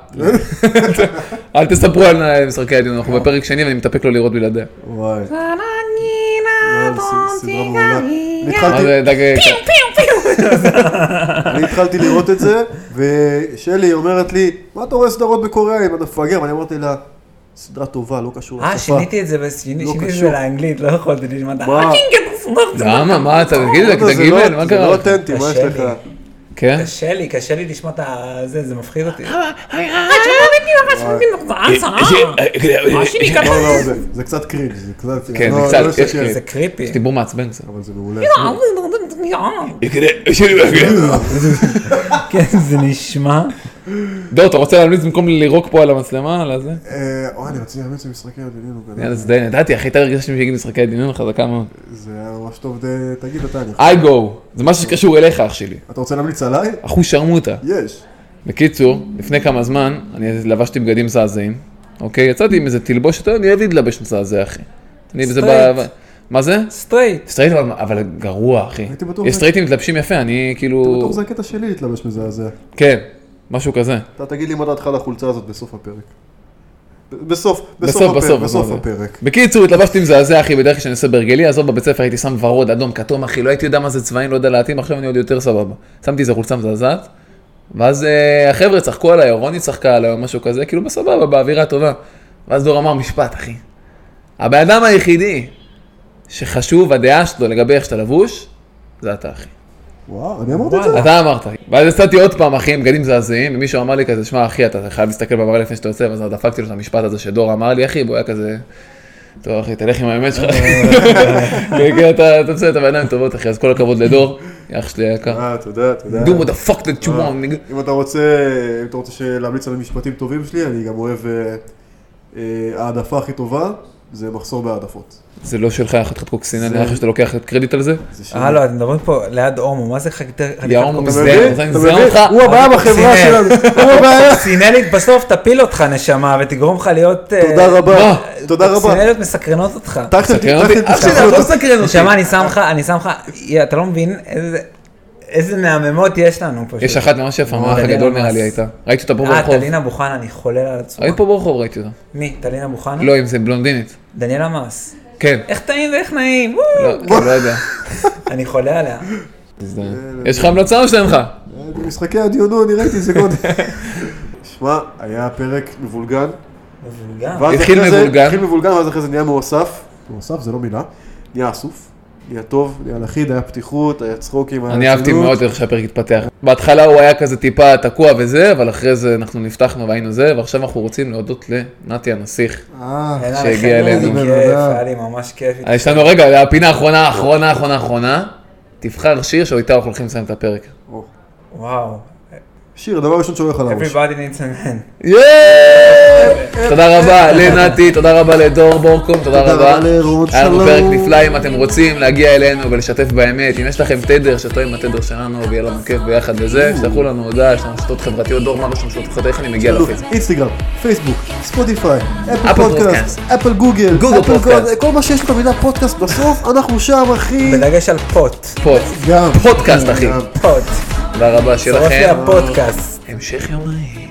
אל תספרו על משחקי הדיון, אנחנו בפרק שני ואני מתאפק לא לראות בלעדיה.
וואי. אה, וואי, ס- סדרה מעולה. אני
מה
התחלתי-
זה דג...
אני התחלתי לראות את זה, ושלי אומרת לי, מה אתה רואה סדרות בקוריאה אם אתה מפגר? ואני אמרתי לה, סדרה טובה, לא קשור
אה, שיניתי את זה, בס- שיני-
לא
שיניתי את זה
קשור.
לאנגלית, לא יכולתי לשמוע את ה-
מה?
למה? מה אתה תגיד לי?
זה
תגיד
לא-
לי, מה
זה לא
קרה?
אותנטי, מה יש
קשה
לך?
לי.
כן?
קשה לי, קשה לי לשמוע את ה... זה, זה מפחיד אותי.
לא, לא, זה- זה קצת קרינג', זה קצת...
כן,
לא,
זה קצת,
לא
יש
שקר.
קרינג'.
זה קריפי.
יש דיבור מעצבן קצת.
אבל זה מעולה.
כאילו,
כן, זה נשמע.
דור, אתה רוצה להמליץ במקום לירוק פה על המצלמה? על הזה?
אה, אוי, אני רציתי לאמץ במשחקי הדמיון. הוא
יאללה,
גדול.
זה די, ידעתי, אחי, הייתה הרגשה שמישהו יגיד משחקי דמיון חזקה מאוד.
זה היה ממש טוב, ד- תגיד אתה, אני-
I go, זה משהו שקשור אליך, אח שלי.
אתה רוצה להמליץ עליי?
אחו שרמוטה.
יש.
בקיצור, לפני כמה זמן, אני לבשתי בגדים מזעזעים, אוקיי? יצאתי עם איזה תלבושת, אני אוהב להתלבש מזעזע, אחי. אני בזה ב...
סטרייט.
מה זה?
סטרייט.
סטרייט, אבל- אבל גרוע, אחי.
הייתי בטוח
יש
זה-
סטרייטים מתלבשים יפה, אני כאילו...
בטוח זה הקטע שלי להתלבש מזעזע.
כן, משהו כזה.
אה, אתה תגיד לי מה דעתך על החולצה הזאת בסוף הפרק. ב- בסוף,
בסוף,
בסוף הפרק,
בסוף,
בסוף
בסוף.
הפרק.
בקיצור, התלבשתי מזעזע, אחי, בדרך כלל כשאני עושה בהרגלי, עזוב, בבית ספר הייתי שם ורוד, אדום, כתום, אחי, לא הייתי יודע מה זה צבעים, לא יודע להתאים, עכשיו אני עוד יותר סבבה. שמתי איזה חולצה מזעזעת, ואז אה, החבר'ה צחקו עליי, או רוני צחקה עליי, או משהו כזה, כאילו בסבבה, באווירה טובה. ואז דור אמר משפט, אחי. הבן אדם היחידי שחשוב הדעה שלו לגבי איך שאתה לבוש, זה אתה, אחי.
וואו, אני אמרתי את זה?
אתה אמרת. ואז יצאתי עוד פעם, אחי, עם בגדים מזעזעים, ומישהו אמר לי כזה, שמע, אחי, אתה חייב להסתכל במראה לפני שאתה יוצא, ואז דפקתי לו את המשפט הזה שדור אמר לי, אחי, והוא היה כזה, טוב, אחי, תלך עם האמת שלך, אחי. כן, כן, אתה אתה בסדר, אתה בעיניים טובות, אחי, אז כל הכבוד לדור, אח שלי היקר.
אה, תודה, תודה. אה,
Do what the fuck that you want, nigga.
אם אתה רוצה, אם אתה רוצה להמליץ על משפטים טובים שלי, אני גם אוהב... אה, אה, העדפה הכי טובה זה מחסור בהעדפות.
זה לא שלך, חתיכת קוקסינל,
זה-
נראה לך שאתה לוקח את קרדיט על זה?
זה שלי.
הלו, אתם מדברים פה ליד הומו, מה זה חקיקה?
יא הומו
אתה
מזדיין,
מבין?
זה אני
אתה
מזדיין
מבין?
אותך.
הוא הבעיה בחברה
סינר.
שלנו. הוא הבעיה.
סינלית בסוף תפיל אותך נשמה ותגרום לך להיות... אה,
תודה רבה.
מה?
תודה רבה.
סינליות מסקרנות אותך.
טקטית,
סקרן אותי,
טקטית,
אח שלי,
טקטית.
אתה לא סקרן אותי.
נשמה, אני שם לך, אני שם לך, יא, אתה לא מבין איזה- איזה מהממות יש לנו פשוט.
יש אחת ממש יפה, מהאח
טלינה
הגדול נראה
מס.
לי הייתה. ראיתי אותה פה
אה,
ברחוב.
טלינה בוכנה, אני חולל על עצמה.
נכון.
ראיתי פה לא. ברחוב, ראיתי אותה.
מי? טלינה בוכנה?
לא, אם זה בלונדינית.
דניאלה מס.
כן.
איך טעים ואיך נעים.
לא, לא יודע.
אני חולה עליה.
יש לך המלצה או שאין לך?
אה, משחקי הדיונו, אני ראיתי את זה קודם. שמע, היה פרק מבולגן.
מבולגן.
ואז
התחיל
אחרי זה-
מבולגן.
התחיל מבולגן, ואז אחרי זה נהיה מאוסף. מאוסף זה לא מילה. נהיה אסוף. נהיה טוב, נהיה לכיד, היה פתיחות, היה צחוקים, היה
אני אהבתי
רצינות.
מאוד איך שהפרק התפתח. בהתחלה הוא היה כזה טיפה תקוע וזה, אבל אחרי זה אנחנו נפתחנו והיינו זה, ועכשיו אנחנו רוצים להודות לנתי הנסיך.
אה,
אין
שהגיע
עליכם,
אלינו.
איזה
בן
כיף,
אדם.
היה לי ממש כיף.
אז יש לנו רגע, הפינה האחרונה, האחרונה, האחרונה, האחרונה. תבחר שיר שאיתה אנחנו הולכים לסיים את הפרק.
וואו.
שיר, דבר ראשון שהולך על הראש.
Everybody needs a man.
אה,
יאיי! תודה רבה לנתי, תודה רבה לדור בורקום, תודה
תודה
רבה.
רבה לרון
היה לנו
שלום.
פרק נפלא, אם אתם רוצים להגיע אלינו ולשתף באמת, אם יש לכם תדר שתואם לתדר שלנו ויהיה לנו כיף ביחד וזה, שלחו לנו הודעה, יש לנו רשתות חברתיות, דור מה רשום רשתות חברתיות, איך אני מגיע לפייסבוק?
אינסטגרם, פייסבוק, ספוטיפיי, אפל
אפל
פודקאסט,
פודקאסט.
אפל גוגל,
גוגל
אפל
פודקאסט.
כל- כל מה שיש לו את המילה פודקאסט בסוף, אנחנו שם אחי.
בדגש על פוט.
פוד.
גם.
פודקאסט אחי.
גם.
פוט.
תודה רבה
שורף לי
שלכם.
הפודקאסט.
המשך יום נעים.